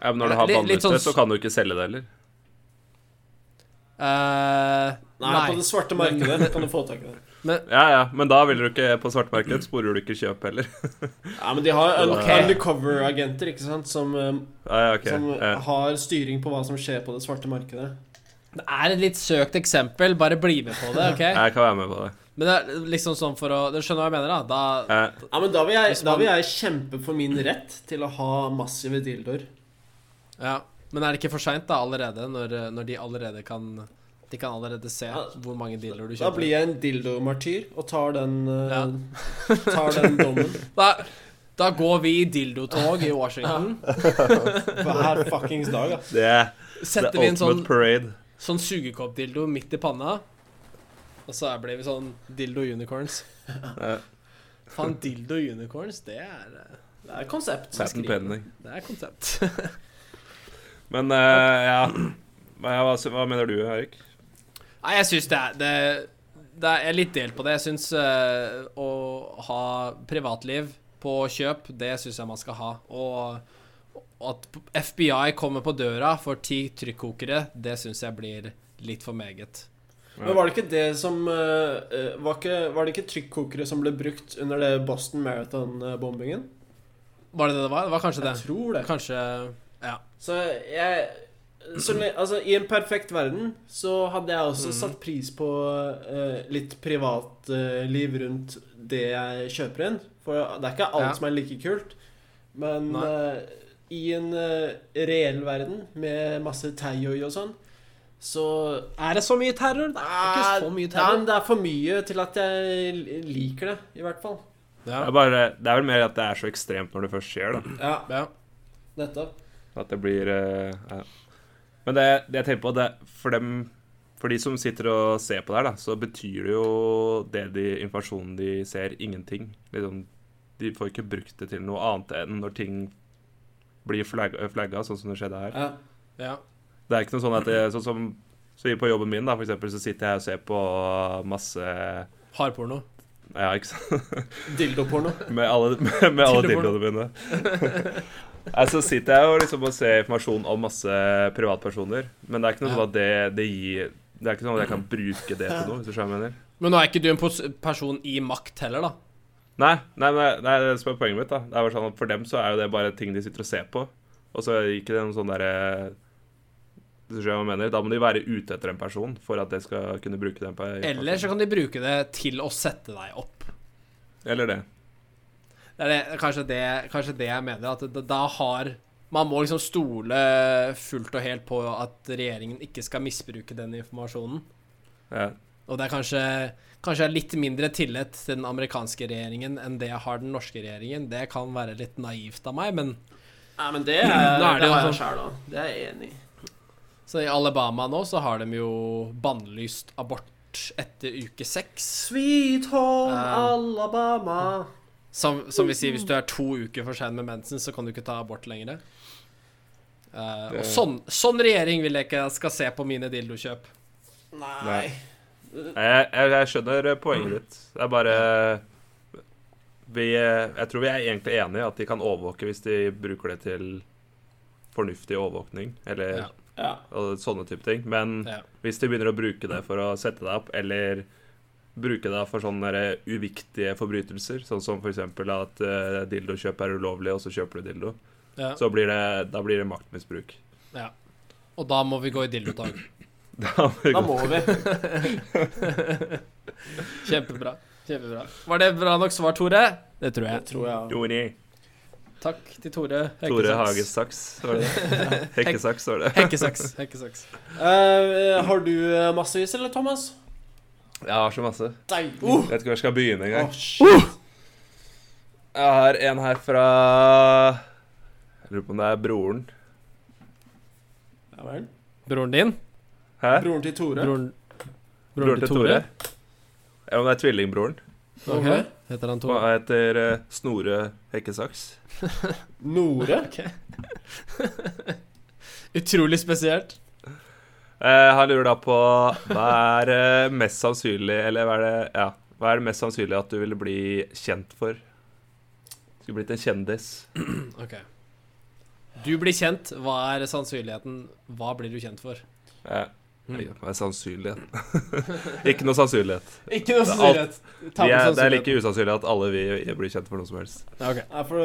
Ja, men når du har Litt- sånn litt bannlyst det, sånn- så kan du ikke selge det heller. Eh, Nei, Nei. på det svarte markedet kan du få tak i det. Ja, ja, men da vil du ikke på svartmarked sporer du ikke kjøp heller. Ja, men de har un- Ok. undercover-agenter, ikke sant, som, eh, Ja, ja, ok. Eh, som Ja. har styring på hva som skjer på det svarte markedet. Det er et litt søkt eksempel, bare bli med på det, OK? Jeg kan være med på det. Eh, Men det er liksom sånn for å Du skjønner hva jeg mener, da? da Ja. Ja, men da vil, jeg, Hvis da man- vil jeg kjempe for min rett til å ha massive dildoer. ja. Men er det ikke for seint, da, allerede? Når, når de allerede kan De kan allerede se Ja, hvor mange dealer du Da kjøper? blir jeg en dildomartyr og tar den, eh, Ja. tar den dommen. Da, da går vi i dildotog i Washington. Hver fuckings dag, ass. Det er the Setter vi en sånn, ultimate parade. sånn sugekoppdildo midt i panna. Og så blir vi sånn dildo unicorns. Ah, Ja. Faen, dildo unicorns, det er eh, Det er et konsept. Patent pending. Det er konsept. Men eh, ja hva, hva, hva mener du, Erik? Nei, jeg syns det er det, det er, Jeg er litt delt på det. Jeg syns å ha privatliv på kjøp, det syns jeg man skal ha. Og at FBI kommer på døra for ti trykkokere, det syns jeg blir litt for meget. Men var det ikke det som eh, eh, var, ikke, var det ikke trykkokere som ble brukt under det Boston Marathon-bombingen? Var det det det var? Det var kanskje det. Jeg tror det. Kanskje Så jeg så, le- Altså, i en perfekt verden så hadde jeg også satt pris på eh, litt privatliv rundt det jeg kjøper inn. For det er ikke alt Ja. som er like kult. Men Nei. eh, i en eh, reell verden med masse taiyoi og sånn, så Er det så mye terror? Det er ikke så mye Ah, Nei, terror. men det er for mye til at jeg l- liker det, i hvert fall. Ja, Det er, bare, det er vel mer at det er så ekstremt når det først skjer, da. Ja, ja. nettopp. At det blir eh, ja. Men det, det jeg tenker på, det er for dem For de som sitter og ser på det her, da, så betyr det jo det de, informasjonen de ser, ingenting. Liksom, de får ikke brukt det til noe annet enn når ting blir flagg, flagga, sånn som det skjedde her. Ja. ja. Det er ikke noe sånn at det, sånn som så på jobben min, da, for eksempel, så sitter jeg og ser på masse Ja, Hardporno. ikke sant? Dildoporno. Med alle, med, med alle Dildoporno. dildoene mine. Nei, Så sitter jeg jo liksom og ser informasjon om masse privatpersoner. Men det er ikke noe Ja. sånn at det, det gir Det er ikke sånn at jeg kan bruke det til noe. hvis du skjønner hva jeg mener. Men nå er ikke du en pos- person i makt heller, da. Nei, nei, nei, nei, det er det som er poenget mitt. da Det er bare sånn at For dem så er jo det bare ting de sitter og ser på. Og så er det ikke noen sånn derre Hvis du skjønner hva jeg mener. Da må de være ute etter en person for at jeg skal kunne bruke den. på- Eller så kan de bruke det til å sette deg opp. Eller det. Det er det, kanskje, det, kanskje det jeg mener. At da, da har Man må liksom stole fullt og helt på at regjeringen ikke skal misbruke den informasjonen. Ja. Og det er kanskje Kanskje jeg har litt mindre tillit til den amerikanske regjeringen enn det jeg har den norske regjeringen. Det kan være litt naivt av meg, men Nei, men det, er, Nå er det det jo har jeg sånn- sjæl òg. Det er jeg enig i. Så i Alabama nå så har de jo bannlyst abort etter uke seks. Sweet home Eh. Alabama. Som, som vi sier, hvis du er to uker for sein med mensen, så kan du ikke ta abort lenger. Eh, og sånn, sånn regjering vil jeg ikke skal se på mine dildokjøp. Nei. Nei. Jeg, jeg, jeg skjønner eh, poenget ditt. Det er bare vi, eh, Jeg tror vi er egentlig enige i at de kan overvåke hvis de bruker det til fornuftig overvåkning eller Ja. Ja. og sånne type ting. Men Ja. hvis de begynner å bruke det for å sette deg opp, eller bruke det for sånne der eh, uviktige forbrytelser, sånn som f.eks. at eh, dildokjøp er ulovlig, og så kjøper du dildo, Ja. så blir det, da blir det maktmisbruk. Og da må vi gå i dildotag. Da må vi Da gå- må vi. Kjempebra. Kjempebra. Var det bra nok svar, Tore? Det tror Det jeg. tror jeg òg. Joni. Takk til Tore. Tore Hagesaks, var det? Hekkesaks, var det. Hekkesaks. Hekkesaks. Eh, har du eh, massevis, eller, Thomas? Jeg har så masse. Deilig. Jeg vet ikke hvor jeg skal begynne engang. Å, shit. Uh. Jeg har en her fra Jeg lurer på om det er broren. Ja vel. Broren din? Hæ? Broren til Tore. Broren, Broren til Tore? Ja, men det er tvillingbroren. Ok. Heter han Tore? Han heter eh, Snore Hekkesaks. Nore. Utrolig spesielt. Eh, han lurer da på hva er eh, mest sannsynlig Eller hva er det Ja, hva er det mest sannsynlig at du ville bli kjent for? Skulle blitt en kjendis. Ok. Du blir kjent. Hva er sannsynligheten? Hva blir du kjent for? Eh, Jeg gjør meg sannsynlighet. ikke noe sannsynlighet. Ikke noe Det er sannsynlighet. Vi er, det er sannsynlighet. like usannsynlig at alle vi blir kjent for noe som helst. Ja, ok. Ja, for,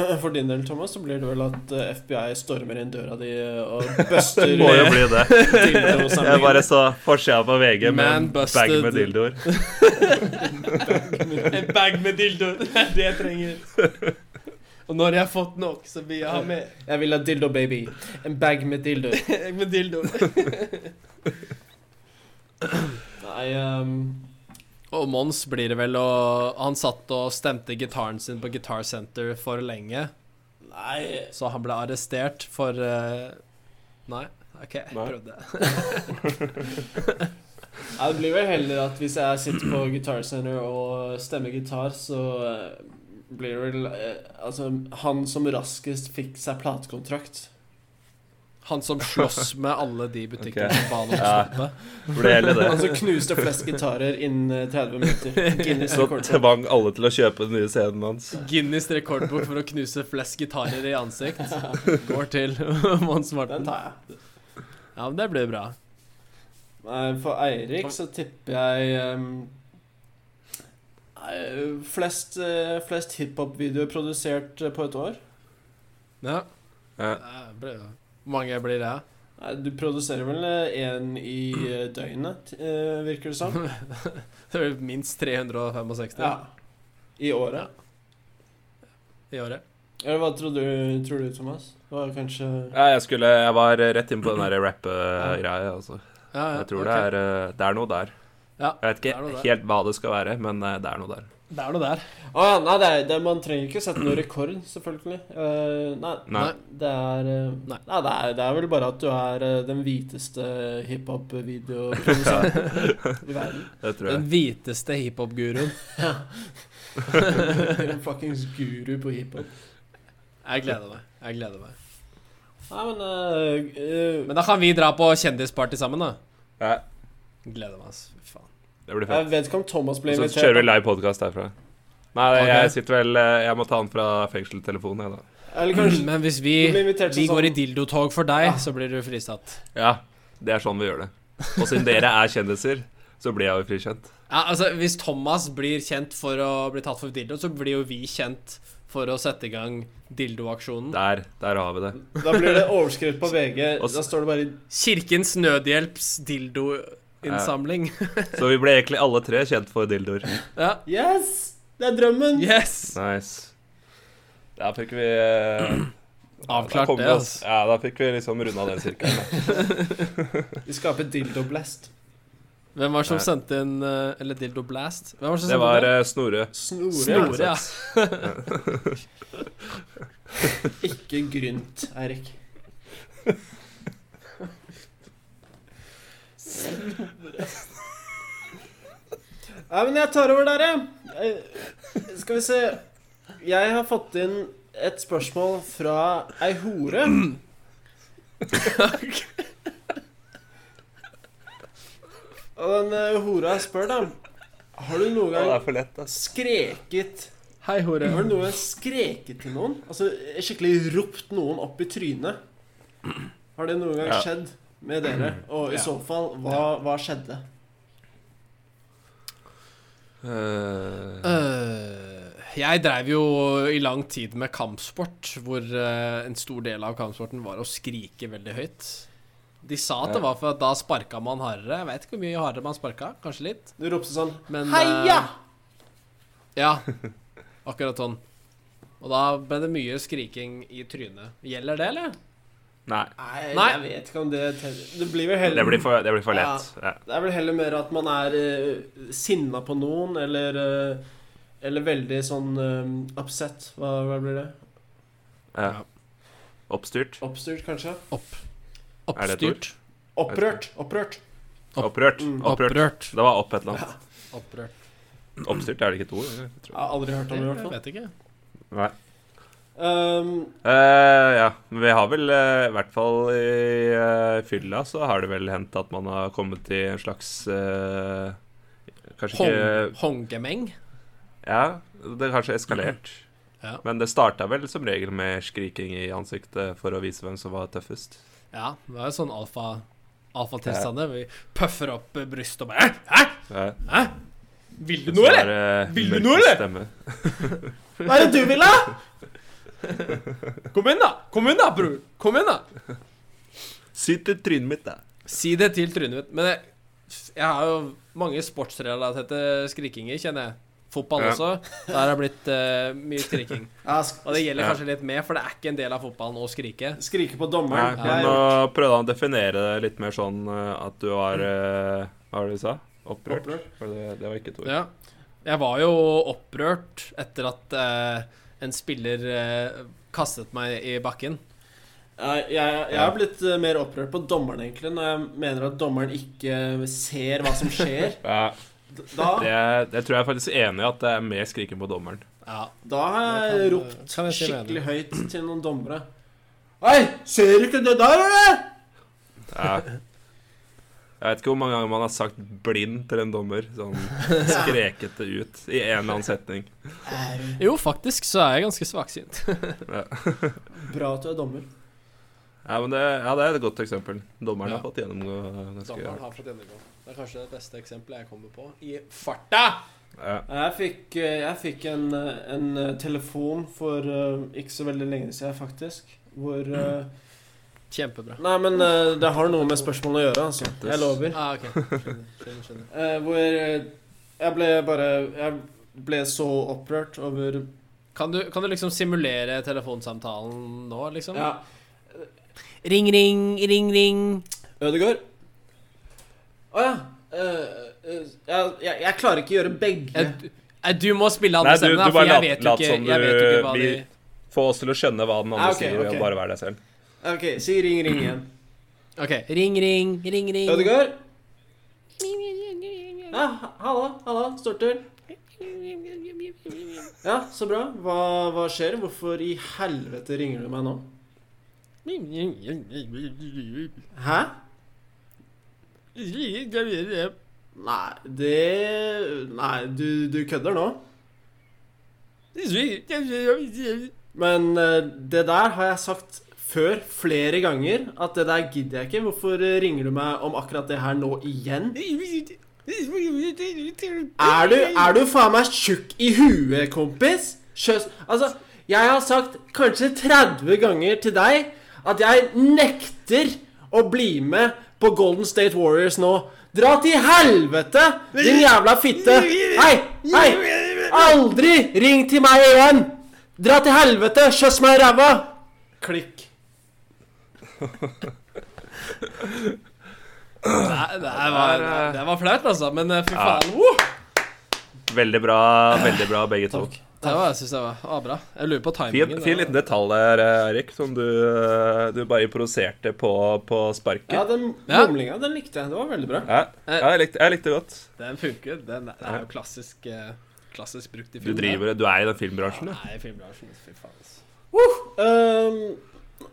eh, for din del, Thomas, så blir det vel at eh, FBI stormer inn døra di eh, og buster Det må jo bli det. Jeg dildosamlingen. bare så forsida på VG med en Man busted. bag med dildoer. En bag med dildoer. Det er det jeg trenger. Og når jeg har fått nok, så vil jeg ha mer. Jeg vil ha dildo baby. En bag med dildoer. Med dildoer. Nei, ehm, Og Mons blir det vel, og han satt og stemte gitaren sin på Guitar Center for lenge, nei så han ble arrestert for eh, Nei, OK, jeg Nei. prøvde. Nei, Det blir vel heller at hvis jeg sitter på Guitar Center og stemmer gitar, så eh, blir det vel eh, Altså, han som raskest fikk seg platekontrakt. Han som slåss med alle de butikkene Ok. som ba han om å Ja. stoppe. Ble hele det. Han Altså, som knuste flest gitarer innen eh, 30 minutter. Guinness Så rekord. tvang alle til å kjøpe den nye scenen hans. Guinness rekordbok for å knuse flest gitarer i ansikt går til Mons Den Morten. tar jeg. Ja, men det blir bra. Nei, For Eirik så tipper jeg ehm, nei, Flest, eh, flest hiphop-videoer produsert eh, på et år. Ja. Ja. det blir bra. Hvor mange blir det? Nei, Du produserer vel én i eh, døgnet, t- eh, virker det som. Det blir minst 365 Ja. I året. i året. Eller hva tror du, tror du Thomas? Det var kanskje Ja, jeg, skulle, jeg var rett inn på den der rappe-greia. Altså. Ja, ja, Jeg tror ok. det, er, eh, det er noe der. Ja, Jeg vet det er noe ikke der. helt hva det skal være, men eh, det er noe der. Det er noe der. Å ja, nei, det er, det, man trenger ikke sette noen rekord, selvfølgelig. Eh, nei, Nei. det er eh, Nei. Nei, det er, det er vel bare at du er eh, den hviteste hiphop-videoprodusenten i verden. Det tror Den jeg. hviteste hiphop-guruen. Dere er en fuckings guru på hiphop. Jeg gleder meg. Jeg gleder meg. Nei, men eh, eh, Men da kan vi dra på kjendisparty sammen, da. Ja, Gleder meg, altså. Fy faen. det blir fett. Jeg vet ikke om Thomas blir Så invitert. kjører vi live podkast herfra. Nei, Ok. jeg sitter vel eh, Jeg må ta den fra fengselstelefonen, jeg, da. Eller kanskje Men hvis du blir vi, invitert vi som går i sånn- dildotog for deg, så blir du fristatt. Ja, det er sånn vi gjør det. Og siden dere er kjendiser, så blir jeg jo frikjent. Ja, altså, hvis Thomas blir kjent for å bli tatt for dildo, så blir jo vi kjent for å sette i gang dildoaksjonen. Der, der har vi det. Da blir det overskrift på VG. Og s- Da står det bare Kirkens Nødhjelps dildoinnsamling. Så vi ble egentlig alle tre kjent for dildoer. Ja. Yes! Det er drømmen! Yes! Nice. Der fikk vi eh, da Avklart kom det, vi oss- altså. Ja, da fikk vi liksom runda den sirkelen. da. Vi skaper dildoblest. Hvem var det som Nei. sendte inn eh, Eller Dildo Blast? Hvem var det som Det sendte var inn det? eh, Snorre. Snore. Snore, ja. altså. Ikke grynt, Eirik. Nei, men jeg tar over der, jeg. Eh, Skal vi se. Jeg har fått inn et spørsmål fra ei hore. Og den eh, hora spør, da Har du noen Ja, det er gang for lett, altså. ass. skreket Hei, hore. har du noen gang skreket til noen? Altså skikkelig ropt noen opp i trynet? Har det noen gang Ja. skjedd med dere? Og i Ja. så fall, hva, hva skjedde? Eh, Øh, jeg dreiv jo i lang tid med kampsport, hvor øh, en stor del av kampsporten var å skrike veldig høyt. De sa at det var for at da sparka man hardere. Jeg veit ikke hvor mye hardere man sparka. Kanskje litt. Du ropte sånn Men øh, Heia! ja. Akkurat sånn. Og da ble det mye skriking i trynet. Gjelder det, eller? nei. Nei, Nei. jeg vet ikke om det teller. Det blir Det vel heller blir for, det blir for lett. Ja. Det er vel heller mer at man er eh, sinna på noen, eller eh, Eller veldig sånn eh, upset. Hva, hva blir det? Ja. Oppstyrt. Oppstyrt, kanskje? Er det et ord? Oppstyrt. Opprørt. Opprørt. Opp- Opprørt. Mm. Opprørt. Opprørt. Det var opp et eller annet. Opprørt. Oppstyrt er det ikke et ord? jeg Jeg tror. har aldri hørt om det, i hvert Jeg fall. vet ikke. Nei. Um, Eh, ja, men vi har vel eh, i hvert fall i eh, fylla så har det vel hendt at man har kommet i en slags eh, Kanskje Hong, ikke hongemeng? Ja, det har kanskje eskalert. Ja. Men det starta vel som regel med skriking i ansiktet for å vise hvem som var tøffest. Ja, det er jo sånn alfa alfatilstander. Vi puffer opp eh, brystet og bare Hæ? Ja. Hæ? Vil du noe, eller? Vil du noe, eller? eh, Stemme. Hva er det du vil, da? Kom inn, da! Kom inn, da, bror! Kom inn, da! Syt i trynet mitt, da. Si det til trynet mitt. Men jeg, jeg har jo mange sportsrelaterte skrikinger, kjenner jeg. Fotball Ja. også. Der har det blitt eh, mye skriking. Ja, sk Og det gjelder Ja. kanskje litt mer, for det er ikke en del av fotballen å skrike. skrike på Nei, dommeren. men Jeg- nå prøvde han å definere det litt mer sånn eh, at du var eh, Hva var det du sa? Opprørt? Opprørt. For det, det var ikke et ord. Ja. Jeg var jo opprørt etter at eh, en spiller eh, kastet meg i bakken. Jeg, jeg, jeg har blitt eh, mer opprørt på dommeren, egentlig, når jeg mener at dommeren ikke ser hva som skjer. Ja, det, Da, det tror jeg er faktisk enig i, at det er mer skriking på dommeren. Ja. da har jeg Det kan- eh, ropt kan jeg si meg skikkelig høyt til noen dommere. Hei, ser du ikke det der, eller? Ja. Jeg vet ikke hvor mange ganger man har sagt 'blind' til en dommer. Sånn skreket det ut i en eller annen setning. Jo, faktisk så er jeg ganske svaksynt. Bra at du er dommer. Ja, men det, ja, det er et godt eksempel. Dommeren Ja. har fått gjennomgå ganske Dommeren hardt. har fått gjennomgå. Det er kanskje det beste eksempelet jeg kommer på. I farta! Ja. Jeg fikk, eh, jeg fikk en, eh, en eh, telefon for eh, ikke så veldig lenge siden, faktisk, hvor Mm. eh, Kjempebra. Nei, men eh, det har noe med spørsmålet å gjøre, altså. Jeg lover. Ah, ok. Skjønner, skjønner, skjønner. Eh, hvor eh, jeg ble bare Jeg ble så opprørt over Kan, du, kan du liksom simulere telefonsamtalen nå, liksom? Ja, Ring, ring, ring, ring. Ødegård? Å ja. eh, eh, jeg, jeg, jeg klarer ikke å gjøre begge. Jeg, nei, du må spille Nei, andre du- stemmen, da, du for bare jeg lat- vet jo lat ikke, som jeg du- vet jo ikke hva de vi- Få oss til å skjønne hva den andre Ja, Ah, ok, sier, ok. og bare være deg selv. Ok, si ring, ring igjen. OK. Ring, ring, ring, ring. Ødegård? Ja, ha- halla, halla, Stortur. Ja, så bra. Hva, hva skjer? Hvorfor i helvete ringer du meg nå? Hæ? Nei, det Nei, du, du kødder nå? Men eh, det der har jeg sagt før flere ganger, at det der gidder jeg ikke. Hvorfor eh, ringer du meg om akkurat det her nå igjen? Er du, er du faen meg tjukk i huet, kompis? Kjøs, altså, jeg har sagt kanskje 30 ganger til deg at jeg nekter å bli med på Golden State Warriors nå. Dra til helvete, din jævla fitte! Hei, hei! Aldri ring til meg igjen! Dra til helvete, kjøss meg i ræva! Klikk. Nei, det var, Der, eh. det var flaut, altså. Men eh, fy Ja. faen. Woo! Veldig bra, veldig bra begge to. Takk. Det var, jeg synes det var, var bra. Jeg lurer på Fin, timingen. fin da. liten detalj der, eh, Erik, som du, eh, du bare improviserte på, på sparket. Ja, den Ja. mumlinga, den likte jeg. Det var veldig bra. Ja, ja jeg, likte, jeg likte det godt. Den funker. Den er, det er jo klassisk, eh, klassisk brukt i Du film. driver Du er i den filmbransjen, bransjen, du. Nei, filmbransjen. Fy faen. altså. Ehm,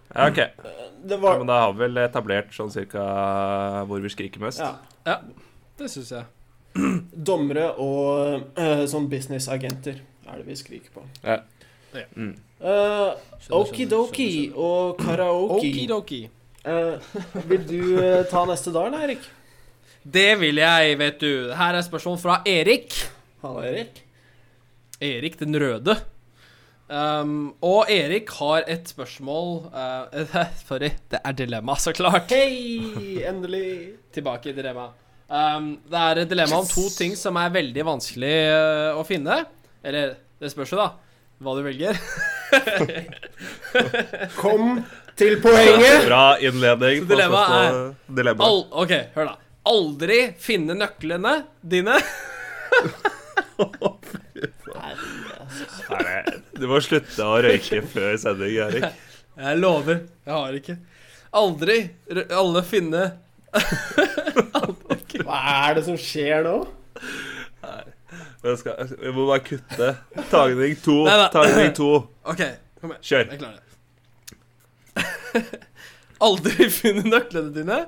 Ja, OK. det Ja, var men da har vi vel etablert sånn cirka hvor vi skriker mest. ja. Det syns jeg. Dommere og eh, sånn businessagenter er det vi skriker på. Ja. Ja. Mm. Eh, Skjønner, skjønner, Okidoki skjønner, skjønner. og karaoke. Okidoki. Eh, vil du eh, ta neste dag, da, Erik? Det vil jeg, vet du. Her er spørsmål fra Erik. Halla, Erik. Erik den røde. Um, og Erik har et spørsmål eh, Sorry, det er dilemma, så klart. Hei! Endelig. Tilbake i dilemma. Um, det er et dilemma om to ting som er veldig vanskelig eh, å finne. Eller det spørs jo, da. Hva du velger. Kom til poenget. Bra innledning. Så dilemmaet er- er dilemma. Al OK, hør, da. Aldri finne nøklene dine. Nei, nei, du må slutte å røyke før sending, Erik. Jeg lover. Jeg har ikke. Aldri r alle finne Hva er det som skjer nå? Vi, skal, vi må bare kutte. Tagning to. Nei, nei. Tagning to. OK, kom igjen. Kjør. Jeg klarer det. aldri finne nøklene dine.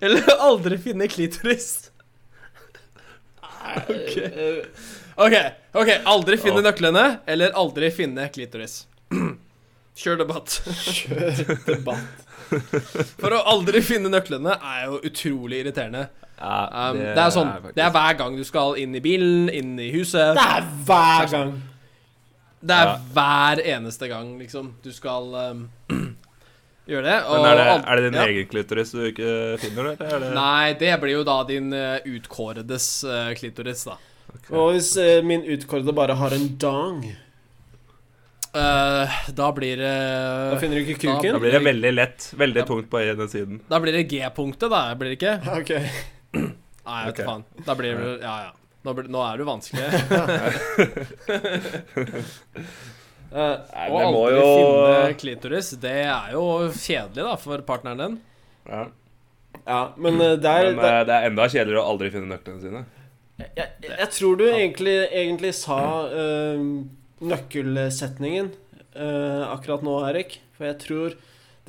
Eller aldri finne klitoris. Eh, OK, ok, aldri finne Åh. nøklene, eller aldri finne klitoris. Kjør debatt. kjør debatt. For å aldri finne nøklene er jo utrolig irriterende. Ja, Um, det, er sånn, det er faktisk- hver gang du skal inn i bilen, inn i huset. Det er hver gang! Det er Ja. hver eneste gang, liksom. Du skal um, gjøre det. Men er det, og- er det din ja. egen klitoris du ikke finner, eller? Er det, Nei, det blir jo da din eh, utkåredes eh, klitoris, da. Og hvis eh, min utkårede bare har en dong, Eh, da blir det da finner du ikke Da kuken? blir det veldig lett. Ja. Veldig tungt på ene siden. Da blir det G-punktet, da, blir det ikke? Ok. Nei, jeg vet Ok. ikke faen. Da blir det Ja, ja. Nå, blir, nå er du vanskelig. Eh, Nei, Å det må aldri jo- finne klitoris, det er jo kjedelig, da, for partneren din. Ja. Ja, men eh, der, Men der eh, det er enda kjedeligere å aldri finne nøklene sine. jeg, jeg tror du egentlig, egentlig sa eh, nøkkelsetningen eh, akkurat nå, Erik. For jeg tror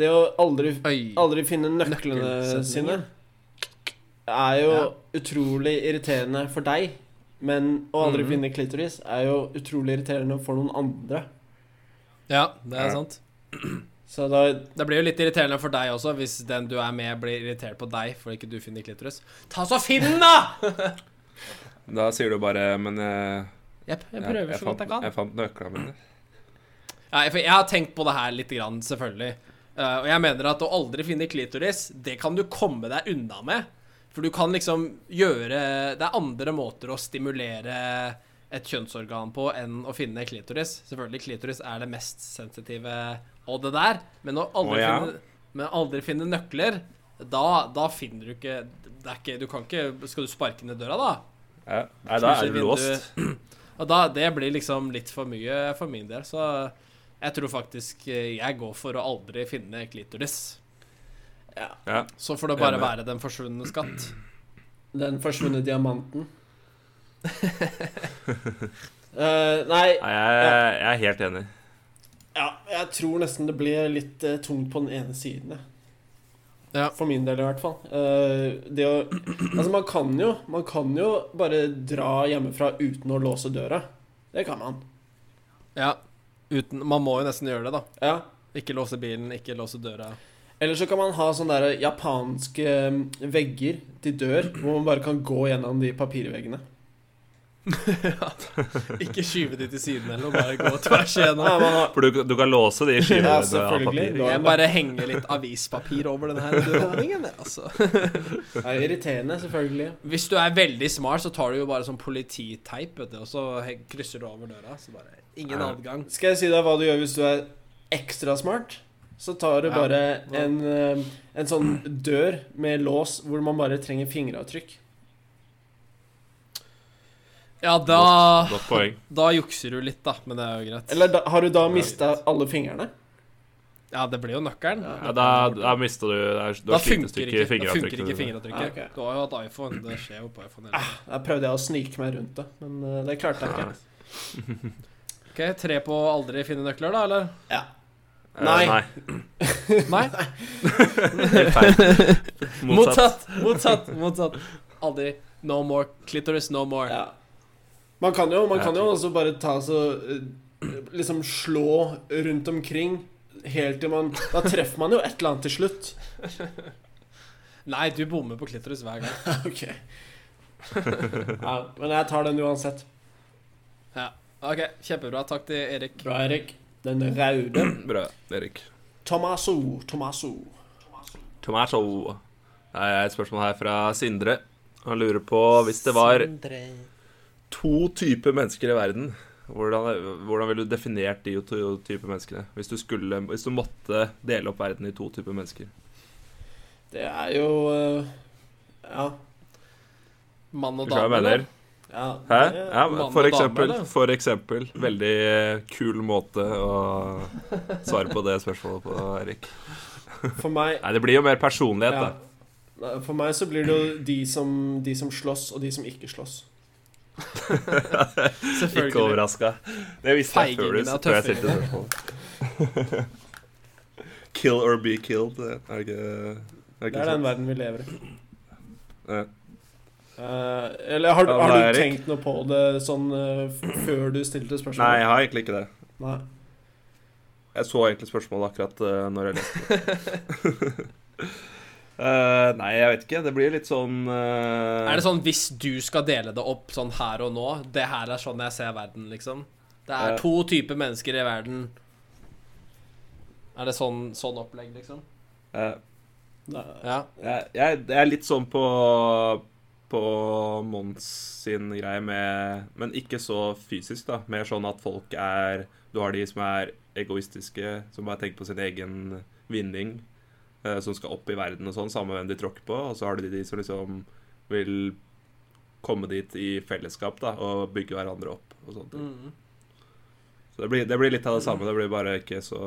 det å aldri, Oi. aldri finne nøklene Nøkkelsetningen. sine er jo Ja. utrolig irriterende for deg. Men å aldri Mhm. finne klitoris er jo utrolig irriterende for noen andre. Ja, det Ja. er sant. Så da Det blir jo litt irriterende for deg også, hvis den du er med, blir irritert på deg fordi ikke du finner klitoris. Ta så finn den, da! Da sier du bare Men eh, Jepp, jeg prøver så godt jeg fant, kan. jeg fant nøklene mine. Nei, for jeg har tenkt på det her litt, grann, selvfølgelig. Eh, og jeg mener at å aldri finne klitoris, det kan du komme deg unna med. For du kan liksom gjøre Det er andre måter å stimulere et kjønnsorgan på enn å finne klitoris. Selvfølgelig, klitoris er det mest sensitive og det der, men å aldri, Å, ja. finne, men aldri finne nøkler da, da finner du ikke Det er ikke Du kan ikke Skal du sparke ned døra, da? Ja. Nei, da er Knuse du låst. Og da, det blir liksom litt for mye for min del, så jeg tror faktisk eh, jeg går for å aldri finne klitoris. Ja. Så får det bare Enig. være den forsvunne skatt. Den forsvunne diamanten Eh, Nei, Nei, jeg, jeg er helt enig. ja, jeg tror nesten det blir litt eh, tungt på den ene siden. jeg. Ja. For min del, i hvert fall. Eh, det å Altså, man kan jo Man kan jo bare dra hjemmefra uten å låse døra. Det kan man. ja. Uten, man må jo nesten gjøre det, da. Ja. Ikke låse bilen, ikke låse døra. Eller så kan man ha sånne der japanske eh, vegger til dør, hvor man bare kan gå gjennom de papirveggene. Ikke skyve de til siden eller noe, bare gå tvers igjennom. Ja, man har, For du, du kan låse de skivene Ja, av selvfølgelig. papir. Da- Jeg bare henger litt avispapir over denne underholdningen. jeg, Altså. det er irriterende, selvfølgelig. Hvis du er veldig smart, så tar du jo bare sånn polititeip, vet du, og så he- krysser du over døra. Så bare ingen Ja. adgang. Skal jeg si deg hva du gjør hvis du er ekstra smart? Så tar du Ja. bare Ja. en, eh, en sånn dør med lås hvor man bare trenger fingeravtrykk. Ja, da Godt poeng. Da jukser du litt, da, men det er jo greit. Eller da, har du da mista alle fingrene? Ja, det blir jo nøkkelen. Ja, da, da mister du Da, da da funker ikke, da fingeravtrykket. funker ikke fingeravtrykket. Ah, ok. Ah. Du har jo hatt iPhone. Det skjer jo på iPhone. hele tiden. Der prøvde jeg å snike meg rundt det, men eh, det klarte jeg ikke. OK, tre på aldri finne nøkler, da, eller? Ja. Eh, Nei. Nei? Helt feil. Motsatt. Motsatt. Motsatt. motsatt. Aldri. No more. Clitoris, no more. Ja. Man kan jo, man Ja, kan jo typ. også bare ta så eh, Liksom slå rundt omkring helt til man Da treffer man jo et eller annet til slutt. Nei, du bommer på klitoris hver gang. Ok. Ja, men jeg tar den uansett. OK, kjempebra. Takk til Erik. Bra, Erik. Den raude. Bra, Erik. Tomaso, Tomaso. Tomato. Det er et spørsmål her fra Sindre. Han lurer på hvis det var to typer mennesker i verden, hvordan, hvordan ville du definert de to typer menneskene? Hvis du, skulle, hvis du måtte dele opp verden i to typer mennesker. Det er jo eh, Ja. Mann og Skjønner du dame. hva jeg eller? mener? ja Hæ? det- Ja, mann og for dame, eksempel. eller? For eksempel. Veldig eh, kul måte å svare på det spørsmålet på, Erik. For meg Nei, det blir jo mer personlighet, ja. da. Nei, For meg så blir det jo de som, de som slåss, og de som ikke slåss. Selvfølgelig. Ikke overraska. Det visste jeg før du Feigingen er før jeg tøffere. stilte spørsmålet. Kill or be killed, er det ikke er Det ikke er den sånn? verden vi lever i. Ja. Eh, eller har, du- Ja, har nei, du Erik. tenkt noe på det sånn eh, f- før du stilte spørsmålet? Nei, jeg har egentlig ikke det. Nei. Jeg så egentlig spørsmålet akkurat eh, når jeg leste det. Eh, nei, jeg vet ikke. Det blir litt sånn Er det sånn hvis du skal dele det opp sånn her og nå Det her er sånn jeg ser verden, liksom? Det Ja. er to typer mennesker i verden. Er det sånn, sånn opplegg, liksom? eh, Ja. jeg, jeg, jeg er litt sånn på På Mons sin greie med Men ikke så fysisk, da. Mer sånn at folk er Du har de som er egoistiske, som bare tenker på sin egen vinning, eh, som skal opp i verden og sånn, samme hvem de tråkker på. Og så har du de som liksom vil komme dit i fellesskap da, og bygge hverandre opp og sånt. Mm. Så det blir, det blir litt av det samme. Det blir bare ikke så,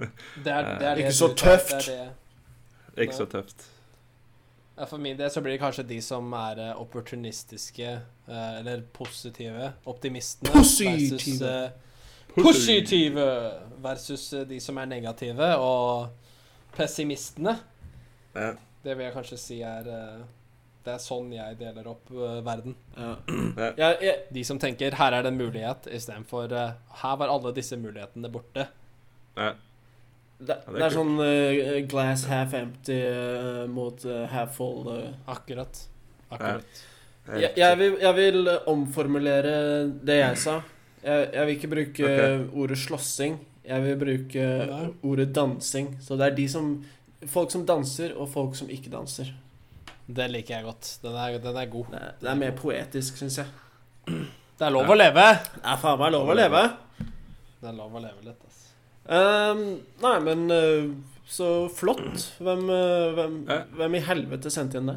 Det er, det er Eh, Ikke det så du- tøft. Det er det. ikke så tøft. Ja, for min del så blir det kanskje de som er eh, opportunistiske, eh, eller positive, optimistene Positive. versus eh, Positive versus eh, de som er negative, og pessimistene. Ja. Det vil jeg kanskje si er eh, Det er sånn jeg deler opp eh, verden. Ja. Jeg, jeg, De som tenker 'her er det en mulighet', istedenfor uh, 'her var alle disse mulighetene borte'. Ja. Ja, det det, er det er sånn eh, glass half empty eh, mot eh, half full. eh. Akkurat. Akkurat. Jeg, jeg, vil, jeg vil eh, omformulere det jeg sa. Jeg, jeg vil ikke bruke Ok. ordet slåssing. Jeg vil bruke Nei. ordet dansing. Så det er de som Folk som danser, og folk som ikke danser. Det liker jeg godt. Den er, den er god. Det er, det er mer poetisk, syns jeg. Det er Ja. lov å leve! Det er faen meg lov å leve. Det er lov å leve litt, altså. Ehm, nei, men eh, så flott. Hvem, eh, hvem, Ja. hvem i helvete sendte inn det?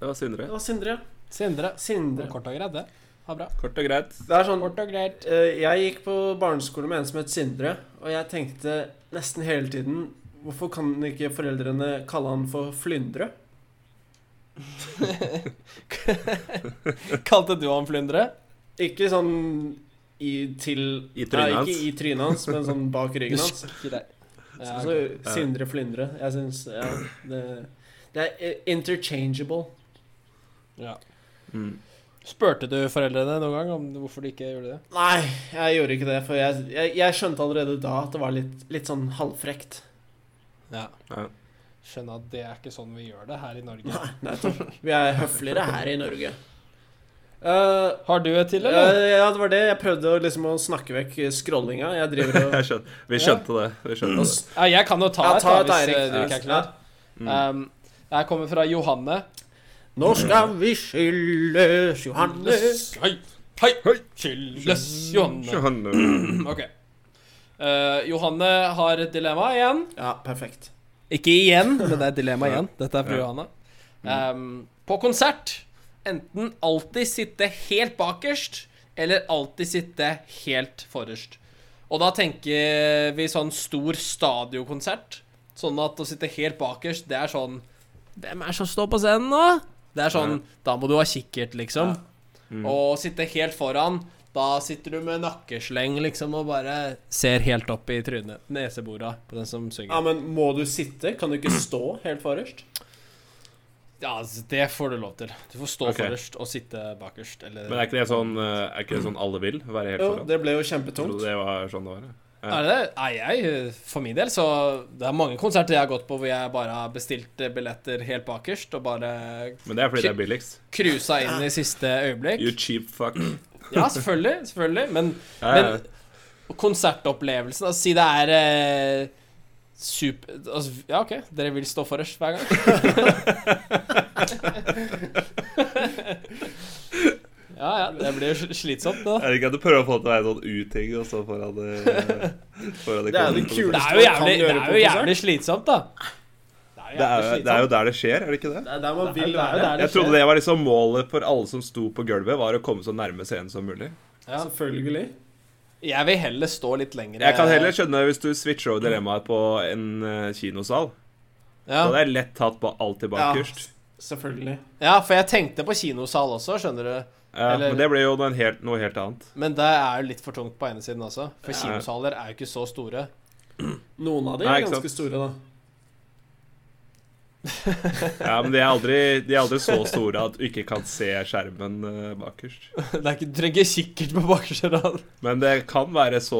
Det var Sindre. Det var Sindre. ja. Sindre. Sindre. Kort og greit, det. Ha bra. Kort og greit. Det er sånn Kort og greit. Eh, Jeg gikk på barneskole med en som het Sindre, og jeg tenkte nesten hele tiden Hvorfor kan ikke foreldrene kalle han for Flyndre? Kalte du han Flyndre? Ikke sånn i, til I trynet nei, hans. Ikke i trynet hans, men sånn bak ryggen hans. Greit. Ja, Så, ok. så Sindre Flyndre. Jeg syns Ja, det, det er eh, interchangeable. ja. Mm. Spurte du foreldrene noen gang om hvorfor de ikke gjorde det? Nei, jeg gjorde ikke det, for jeg, jeg, jeg skjønte allerede da at det var litt, litt sånn halvfrekt. Ja. Ja. Skjønner at det er ikke sånn vi gjør det her i Norge. Nei, nettopp. Vi er høfligere her i Norge. Eh, Har du et til, Ja, eller? ja, det var det. Jeg prøvde å, liksom, å snakke vekk scrollinga. Jeg driver og Jeg skjønte, vi skjønte det. Vi skjønte det. Ja, jeg kan jo ta Ja, et, ta da, et, da, hvis Erik. eh, du ikke er klar. Mm. Um, jeg kommer fra Johanne. Nå skal vi skyldes Johannes. Hei, hei, hei. Skyldes Johanne. Johanne. Ok. Eh, Johanne har et dilemma igjen. Ja, perfekt. Ikke igjen, men det er et dilemma Ja. igjen. Dette er fru Ja. Johanna. Ehm, på konsert enten alltid sitte helt bakerst, eller alltid sitte helt forrest. Og da tenker vi sånn stor stadiokonsert. Sånn at å sitte helt bakerst, det er sånn Hvem er det som står på scenen nå? Det er sånn Da må du ha kikkert, liksom. Mm. Og sitte helt foran. Da sitter du med nakkesleng, liksom, og bare ser helt opp i trynet. Nesebora på den som synger. Ja, men må du sitte? Kan du ikke stå helt forrest? Ja, altså, det får du lov til. Du får stå Ok. forrest og sitte bakerst. Eller Men er ikke det sånn, eh, er ikke det sånn alle vil? Være helt Jo, foran? det ble jo Jeg trodde kjempetungt. det var sånn det var. ja. Er det det? Nei, jeg, for min del, så Det er mange konserter jeg har gått på hvor jeg bare har bestilt eh, billetter helt bakerst og bare Men det er fordi det er billigst. cruisa inn i siste You øyeblikk. cheap fuck. Ja, selvfølgelig. selvfølgelig Men, Ja, ja. men konsertopplevelsen Altså, si det er eh, super altså, Ja, OK, dere vil stå forrest hver gang. ja, ja. Det blir jo sl- slitsomt, det, da. Jeg liker at du prøver å få det til å være en sånn uting og så eh, foran det, foran Det er det konsert. Det er kuleste man jo kan jævlig, det er gjøre på jo konsert. jævlig slitsomt, da. Det er, jo- det er jo der det skjer, er det ikke det? Det er der man Det er- vil det er jo være. der Jeg trodde det var liksom målet for alle som sto på gulvet, var å komme så nærme scenen som mulig. Ja. Selvfølgelig. Jeg vil heller stå litt lenger. eh, Jeg kan heller skjønne hvis du switcher over dilemmaet på en eh, kinosal. Da ja. hadde jeg lett tatt på alt i bakerst. Selvfølgelig. ja, for jeg tenkte på kinosal også, skjønner du. Ja, Eller- men det blir jo noe helt, noe helt annet. Men det er jo litt for tungt på ene siden også. For Ja. kinosaler er jo ikke så store. Noen av de Nei, er ikke sant. ganske store, da. Ja, men de er aldri, de er aldri så store at du ikke kan se skjermen eh, bakerst. Det er ikke, du trenger ikke kikkert på bakerste rad. Men det kan være så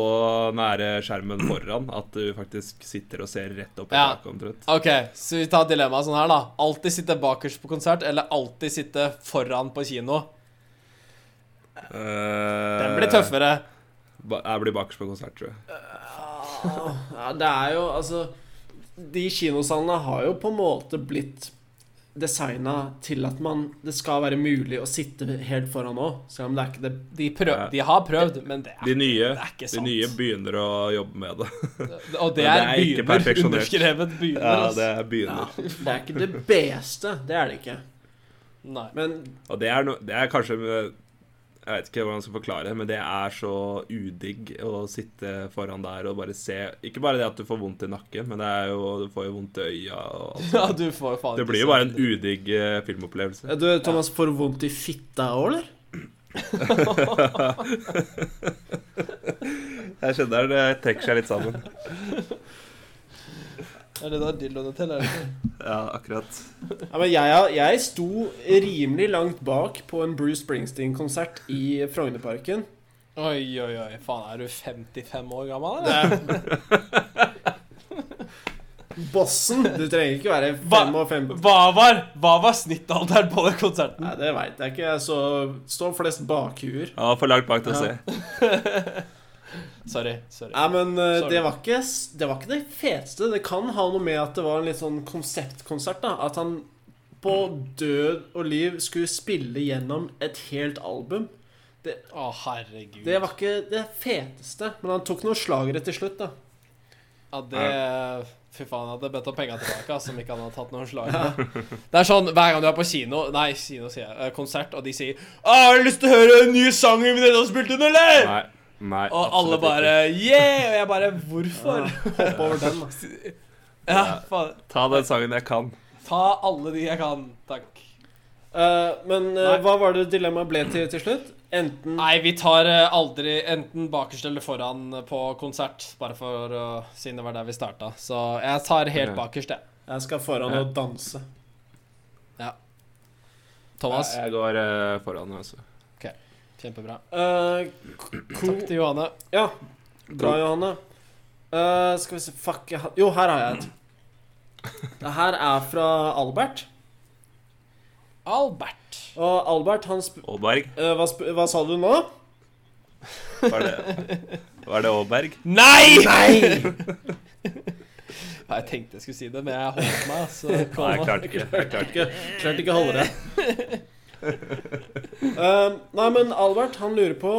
nære skjermen foran at du faktisk sitter og ser rett opp i Ja. taket omtrent. OK, så vi tar dilemmaet sånn her, da. Alltid sitte bakerst på konsert, eller alltid sitte foran på kino. Den blir tøffere. Eh, Ba- Jeg blir bakerst på konsert, tror jeg. Ja, det er jo altså De kinosalene har jo på en måte blitt designa til at man Det skal være mulig å sitte helt foran òg, selv om det er ikke det De, prøv, de har prøvd, men det De er, nye, det er ikke de sant. nye begynner å jobbe med det. Og det er, Men det er ikke begynner. perfeksjonert. Underskrevet begynner. Ja, ass. det begynner. Det er ikke det beste. Det er det ikke. Nei. Men Og det er, no, det er kanskje Jeg vet ikke hvordan jeg skal forklare det, men det er så udigg å sitte foran der og bare se Ikke bare det at du får vondt i nakken, men det er jo, du får jo vondt i øya og alt. Ja, du får faen Det ikke blir se jo bare en det. udigg eh, filmopplevelse. du, Thomas, får du vondt i fitta òg, eller? Jeg kjenner det trekker seg litt sammen. Er det da dildoene til, eller? Ja, akkurat. Ja, men jeg, jeg sto rimelig langt bak på en Bruce Springsteen-konsert i Frognerparken. Oi, oi, oi. Faen, er du 55 år gammel, eller? Bossen! Du trenger ikke være Hva- 55. Hva var, hva var snittalderen på den konserten? Nei, det veit jeg ikke. Jeg så, står flest bakhuer. Ja, for langt bak til å se. Sorry. sorry Nei, men eh, Sorry. det var, ikke, s- det var ikke det feteste. Det kan ha noe med at det var en litt sånn konseptkonsert. da At han på død og liv skulle spille gjennom et helt album. Å, herregud. Det var ikke det feteste. Men han tok noen slagere til slutt, da. Ja, det Fy faen, jeg hadde bedt om penga tilbake, ass, om ikke han hadde tatt noen slag. Det er sånn hver gang du er på kino Nei, kino sier jeg. eh, Konsert, og de sier Å, 'Har du lyst til å høre en ny sang vi nettopp spilte inn, eller?' Nei. Nei og alle absolutt bare ikke. Yeah! Og jeg bare Hvorfor? Hopp over den, da. Ja, faen. Ta den sangen jeg kan. Ta alle de jeg kan. Takk. Eh, men eh, Nei. hva var det dilemmaet ble til til slutt? Enten Nei, vi tar eh, aldri enten bakerst eller foran eh, på konsert, bare for å siden det var der vi starta. Så jeg tar helt Ok. bakerst, jeg. Jeg skal foran og danse. Thomas, Jeg, jeg går eh, foran, altså. kjempebra. Eh, ko Takk til Johanne. Ja. Bra, Johanne. Eh, skal vi se Fuck, jeg har Jo, her har jeg et. Det her er fra Albert. Albert. Og Albert, han sp Aaberg. eh, hva, sp hva sa du nå? Var det, var det Aaberg? Nei! Ja, jeg tenkte jeg skulle si det, men jeg holdt meg. Så Nei, jeg kom klarte ikke. Jeg klarte ikke. Ikke, klart ikke holder det. Eh, nei, men Albert, han lurer på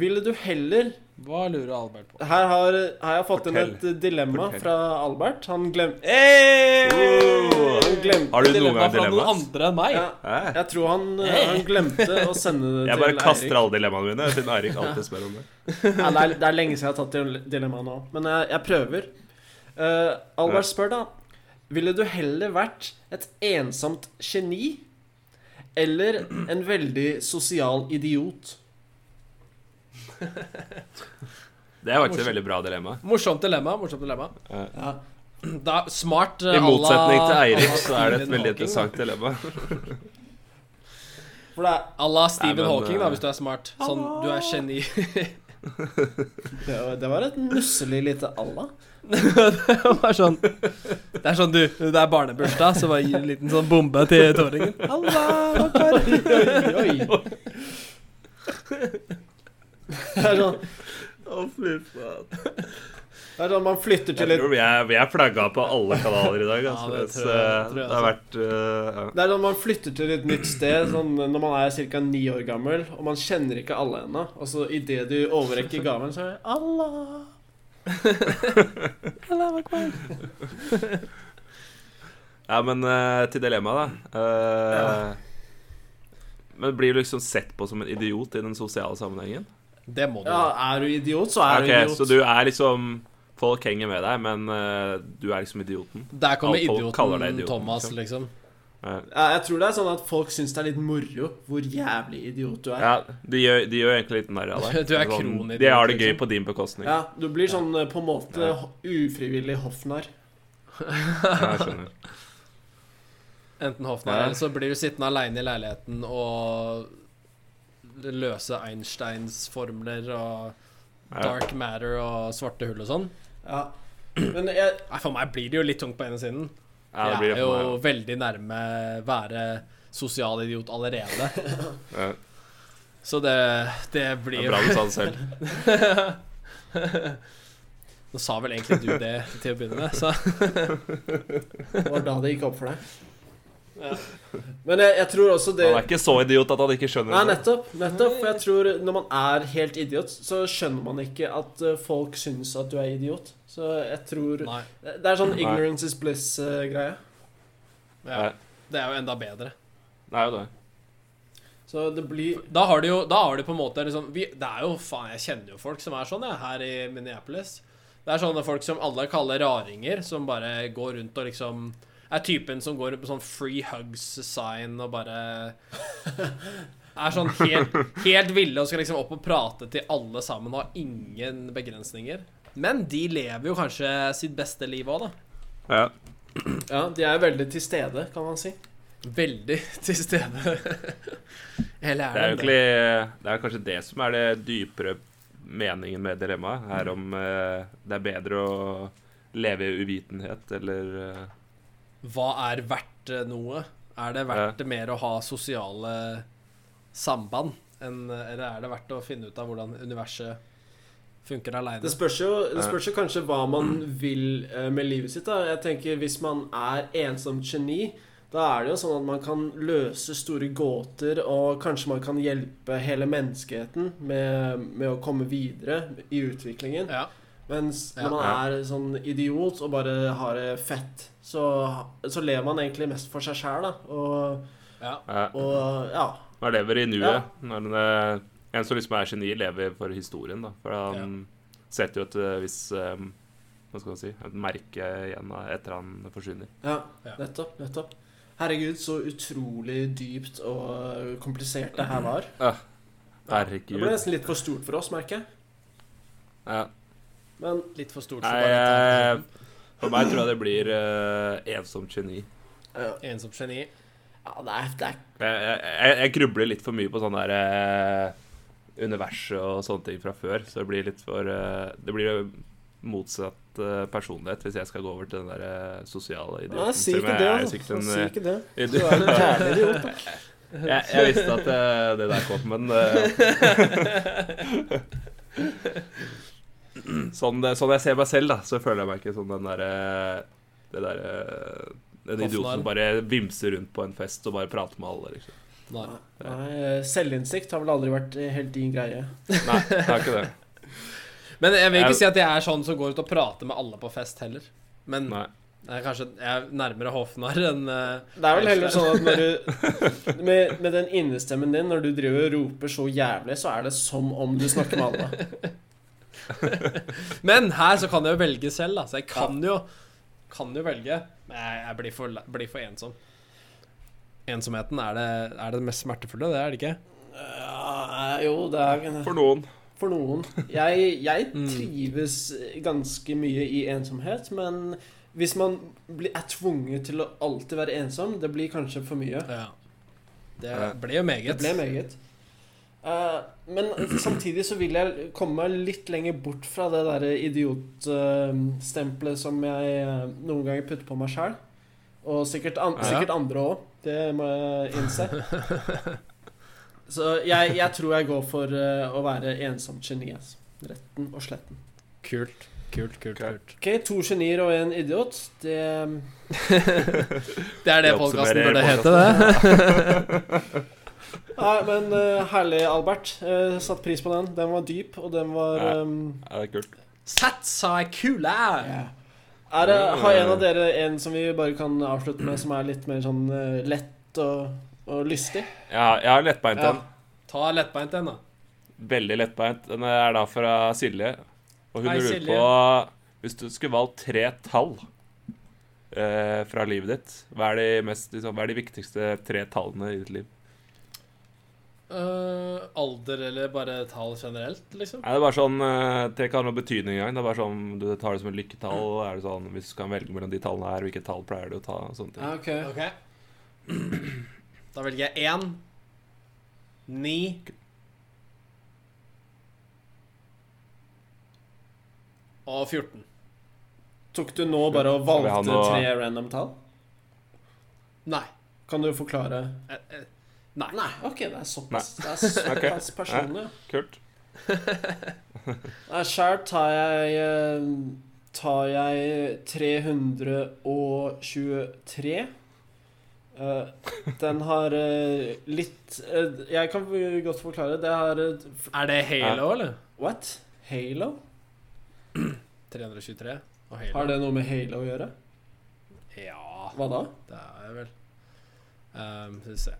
Ville du heller Hva lurer Albert på? Her har, her har jeg fått inn Fortell. et dilemma Fortell. fra Albert. Han glemte Hey! Wow! Han glemte Har du noen Dilemma gang fra noen dilemmas? andre enn meg? ja, Hæ? Jeg tror han, eh, han glemte å sende det Jeg til bare kaster Eirik. alle dilemmaene mine, siden Eirik alltid spør om det. Ja, det, er, det er lenge siden jeg har tatt dile- dilemmaet nå, men jeg, jeg prøver. Eh, Albert spør da Ville du heller vært et ensomt geni eller en veldig sosial idiot? Det er faktisk et veldig bra dilemma. Morsomt dilemma. morsomt dilemma Ja. da, Smart eh, I à la- motsetning til à Eirik, la så er det et Stephen veldig Hawking, da. interessant dilemma. For det er À la Stephen Nei, men, Hawking, da, eh, hvis du er smart. Sånn, du er geni. Det, var- det var et nusselig lite Allah. det var sånn Det er sånn, du, det er barnebursdag, så bare gi en liten sånn bombe til tåringen. Allah, Oi, oi. Det er sånn, Å, fy faen. det er sånn man flytter til Jeg et tror vi er, vi er flagga på alle kanaler i dag. Altså. Ja, det Så, tror jeg- tror jeg det har vært eh, ja. det er sånn man flytter til et nytt sted sånn, når man er ca. ni år gammel, og man kjenner ikke alle ennå. Og så idet du overrekker gaven, så er det Allah. Allah akbar. ja, men eh, til dilemmaet, da. Eh, Men blir du liksom sett på som en idiot i den sosiale sammenhengen? Det må du. Ja, er du idiot, så er Ok, du idiot. Så du er liksom Folk henger med deg, men eh, du er liksom idioten. Der kommer Ja, folk kaller idioten, deg idioten, Thomas, liksom. liksom. Eh, Ja, jeg tror det er sånn at folk syns det er litt moro hvor jævlig idiot du er. ja, de gjør, de gjør egentlig litt narr av deg. Du er Sånn, kronidiot, De har det gøy liksom. på din bekostning. Ja, du blir sånn eh, på en måte Ja. ho- ufrivillig hoffnarr. Jeg skjønner. Enten Hoffmann Ja. eller så blir du sittende aleine i leiligheten og løse Einsteins formler og Ja. dark matter og svarte hull og sånn. Ja. Men jeg, Nei, For meg blir det jo litt tungt på ene siden. Ja, det jeg blir er det for meg. jo veldig nærme være sosial idiot allerede. Ja. Så det, det Det blir er bra du sa det selv. Nå sa vel egentlig du det til å begynne med, så det var da det gikk opp for deg. Men jeg, jeg tror også det Han er ikke så idiot at han ikke skjønner Nei, det. nettopp. nettopp For jeg tror når man er helt idiot, så skjønner man ikke at eh, folk syns at du er idiot. Så jeg tror nei. Det er sånn Nei. ignorance is eh, bliss-greie. Ja, det er jo enda bedre. Det er jo det. Så det blir Da har du jo da har du på en måte liksom vi, Det er jo faen, jeg kjenner jo folk som er sånn, jeg, her i Minneapolis. Det er sånne folk som alle kaller raringer, som bare går rundt og liksom Er typen som går rundt på sånn free hugs-sign og bare Er sånn helt, helt ville og skal liksom opp og prate til alle sammen og har ingen begrensninger. Men de lever jo kanskje sitt beste liv òg, da. Ja. Ja, de er veldig til stede, kan man si. Veldig til stede. Eller Det er jo er det det? egentlig Det er kanskje det som er det dypere meningen med dilemmaet. Er om eh, det er bedre å leve i uvitenhet eller eh, Hva er verdt eh, noe? Er det verdt det mer å ha sosiale samband? enn- eh, eller er det verdt å finne ut av hvordan universet funker Det aleine? spørs jo, det spørs jo kanskje hva man vil eh, med livet sitt. da Jeg tenker Hvis man er ensomt geni, da er det jo sånn at man kan løse store gåter, og kanskje man kan hjelpe hele menneskeheten med, med å komme videre i utviklingen. Ja. Mens Ja. når man er sånn idiot og bare har det fett, så, så lever man egentlig mest for seg sjæl, da. Og, ja. ja. og ja. Man lever i nuet. Ja. Når den, eh, en som liksom er geni, lever for historien. da For han setter jo et eh, visst eh, Hva skal man si Et merke igjen da, etter han forsvinner. Ja, Ja. nettopp. Nettopp. Herregud, så utrolig dypt og komplisert det her var. Det ble Herregud. nesten litt for stort for oss, merker jeg. Ja. Men Litt for stort for Nei, bare eh, et for meg tror jeg det blir eh, ensomt geni. ja, ensomt geni. det er, det er Jeg, jeg, jeg grubler litt for mye på sånn der eh, universet og sånne ting fra før. Så det blir litt for eh, Det blir jo motsatt eh, personlighet hvis jeg skal gå over til den der eh, sosiale Nei, idioten. Si Selv om ikke jeg det, er altså. sikkert en, Si eh, ikke det. Du idiot. er en jævlig idiot. da. jeg, jeg visste at eh, det der kom, men eh, sånn, det- sånn jeg ser meg selv, da, så føler jeg meg ikke som den derre Det derre Den idioten som bare vimser rundt på en fest og bare prater med alle, liksom. Nei. Nei, eh, selvinnsikt har vel aldri vært eh, helt din greie. Nei, det er ikke det. Men jeg vil Jeg- ikke si at jeg er sånn som går ut og prater med alle på fest heller. Men Nei. jeg er kanskje jeg er nærmere Hofnar enn eh, Det er vel heller sånn at når du med, med den innestemmen din, når du driver og roper så jævlig, så er det som om du snakker med alle. Men her så kan jeg jo velge selv, da. Så jeg kan jo Kan jo velge. Men jeg, jeg blir, for, la- blir for ensom. Ensomheten er det, er det mest smertefulle, det er det ikke? Ja, jo, det er For noen. For noen. Jeg, jeg Mm. trives ganske mye i ensomhet, men hvis man blir, er tvunget til å alltid være ensom, det blir kanskje for mye. Ja. Det Ja. ble jo meget. Det ble meget. Eh, men samtidig så vil jeg komme meg litt lenger bort fra det der idiotstempelet som jeg eh, noen ganger putter på meg sjæl. Og sikkert, an Ja. sikkert andre òg. Det må jeg innse. Så jeg, jeg tror jeg går for eh, å være ensomt geni. Altså. Retten og sletten. Kult. Kult, kult, kult. Ok, to genier og en idiot. Det eh, ja, Det er det Det podkasten oppsummerer burde hete, det. Men eh, herlig, Albert. Uh, satt pris på den. Den var dyp, og den var Ja. ehm, Ja, det er kult. Sats sa jeg kule! Er det, har en av dere en som vi bare kan avslutte med, som er litt mer sånn eh, lett og, og lystig? Ja, jeg har lettbeint Ja. en. Ta lettbeint en, da. Veldig lettbeint. Den er da fra Silje. Og hun Hei, lurer Silje. på Hvis du skulle valgt tre tall eh, fra livet ditt, hva er, de mest, liksom, hva er de viktigste tre tallene i ditt liv? Øh, alder eller bare tall generelt, liksom? Nei, det er bare sånn, eh, Det kan ha noe betydning engang. Det er bare sånn, Du tar det som et lykketall. Er det sånn, Hvis du kan velge mellom de tallene her, hvilket tall pleier du å ta? og sånne ting. ok. Ok. Da velger jeg én, ni Og 14. Tok du nå bare og Skal vi ha valgte noe- tre random tall? Nei. Kan du forklare Eh, eh, Nei. Nei, ok, det er såpass. Det er Ok. såpass personlig. Kult. Nei, skjært tar jeg eh, Tar jeg 323. Eh, Den har eh, litt eh, Jeg kan godt forklare. Det har eh, f- Er det Halo, eller? What? Halo? 323 og Halo. Har det noe med Halo å gjøre? Ja, Hva da? det er vel um, Skal vi se.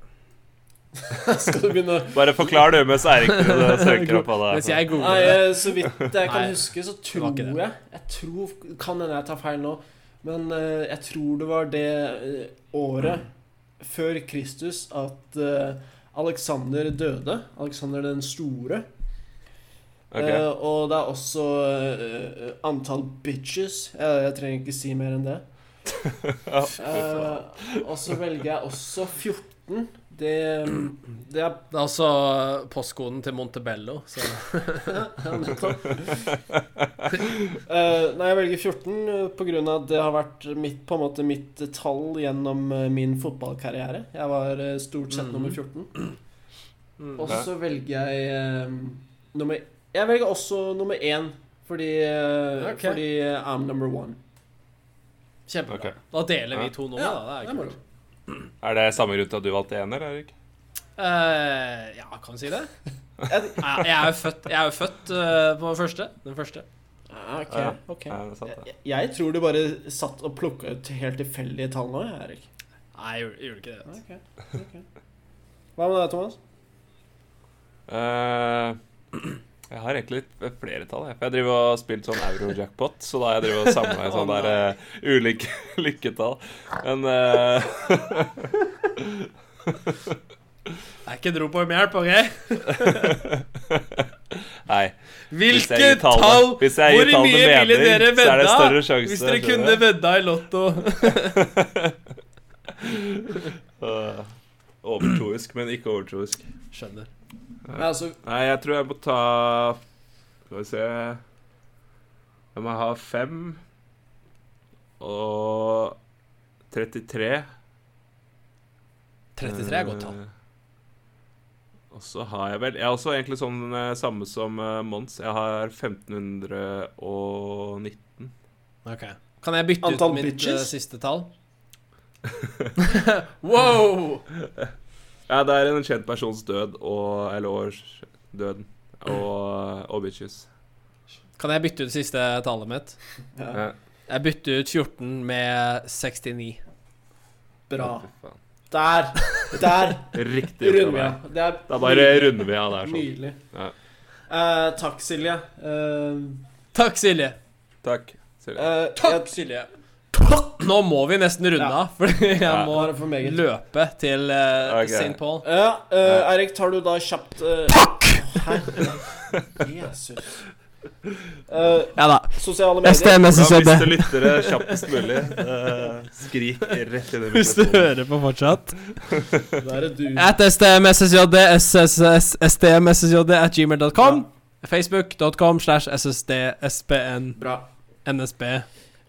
Skal du begynne å Bare forklar du mens Eirik prøver å søke opp hva Mens det er. jeg googler Nei, det. eh, så vidt jeg kan Nei, huske, så var tror ikke det. jeg Jeg tror Kan hende jeg tar feil nå, men eh, jeg tror det var det eh, året før Kristus at eh, Alexander døde. Alexander den store. Ok. Eh, og det er også eh, eh, antall bitches. Jeg, jeg trenger ikke si mer enn det. Ja, fy faen. Eh, og så velger jeg også 14. Det, det er Det er altså postkoden til Montebello. Så Ja, nettopp. Eh, nei, jeg velger eh, 14 pga. at det har vært mitt, på en måte mitt tall gjennom eh, min fotballkarriere. Jeg var eh, stort sett Mhm. nummer 14. mm. Og så velger jeg eh, nummer Jeg velger også nummer 1 fordi, eh, Ok. fordi eh, I'm number one. Kjempebra. Ok. Da deler Ja. vi to nummer, Ja, da. Det det er er kult. Er det samme grunn til at du valgte ener, Eirik? Eh, ja, kan vi si det? Jeg- Jeg jeg er jo født, jeg er jo født eh, på første. Den første. Ah, ok, Ja, ok. Ja, det er sant, det. Jeg, jeg tror du bare satt og plukka ut helt tilfeldige tall nå, jeg, Erik. Nei, jeg gjorde, jeg gjorde ikke det. vet du. Ok, ok. Hva med deg, Thomas? Eh, jeg har egentlig litt flere tall. Jeg, for jeg driver og har spilt sånn euro-jackpot, så da har jeg driver og samla i sånne Å, der eh, ulike lykketall. Men eh, Det er ikke et rop om hjelp, OK? Nei. Hvis jeg Hvilke gir tall, tall, da. Hvis jeg gir Hvor tall mye med ville mening, dere så er det vedda? større sjanse, Hvis dere skjønner kunne jeg. vedda i Lotto eh, overtroisk, men ikke overtroisk. Skjønner. Nei, altså, Nei, jeg tror jeg må ta Skal vi se Jeg må ha fem og 33. 33 er godt tall. Eh, Og så har jeg vel Jeg er også egentlig sånn eh, samme som eh, Mons. Jeg har 1519. Eh, Ok. Kan jeg bytte Antall ut mitt bitches? eh, siste tall? wow! Ja, det er en kjent persons død og Eller års død. Og, og bitches. Kan jeg bytte ut siste tallet mitt? ja, Ja, Jeg bytter ut 14 med 69. bra. fy faen. Der! Der! Riktig Runder gjort av vi meg. av. Det er Da bare runder vi av der. Sånn. Nydelig. Ja. Eh, takk, Silje. Eh, Takk, Silje. Takk. Silje. eh, Takk, jeg- Silje. Nå må vi nesten runde Ja. av, fordi jeg Ja. Nå må er det for meget. løpe til eh, Ok. St. Paul. Ja, eh, Eirik, tar du da kjapt Takk! Jesus. Eh, Ja da. sosiale Neste Da medier. MSSD. mister lyttere kjappest mulig. Eh, skrik rett inn i Hvis du mikrofonen. hører på fortsatt. Da er det du. At stmssjd, sss, stmssjd at gmail.com. Facebook.com slash ssd, spn, Bra. nsb.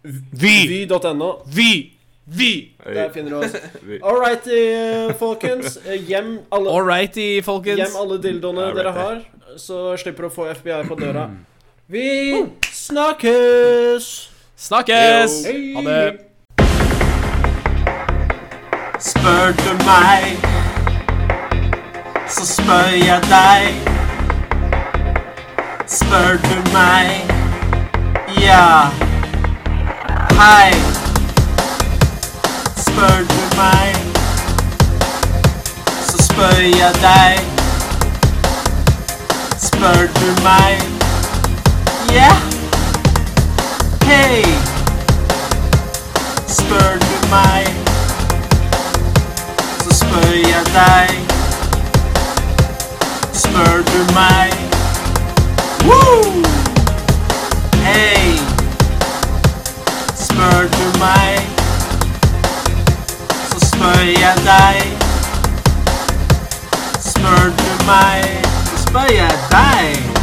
Vy.no. Vi! Vi! Der finner du oss. Vi- All righty, folkens. Eh, Hjem alle, All righty, folkens. hjem alle dildoene dere Alrighty. har, så slipper du å få FBI på døra. Hmm. Vi snakkes! Snakkes! Hei! Ha det. Spør du meg, så spør jeg deg. Spør du meg, ja. Hei. Spør du meg, så spør jeg deg. Spør du meg, ja. Hei. Spør du meg så spør jeg deg. Spør du meg? Woo! Hei! Spør du meg, så spør spør jeg deg. Spør du meg, så spør jeg deg.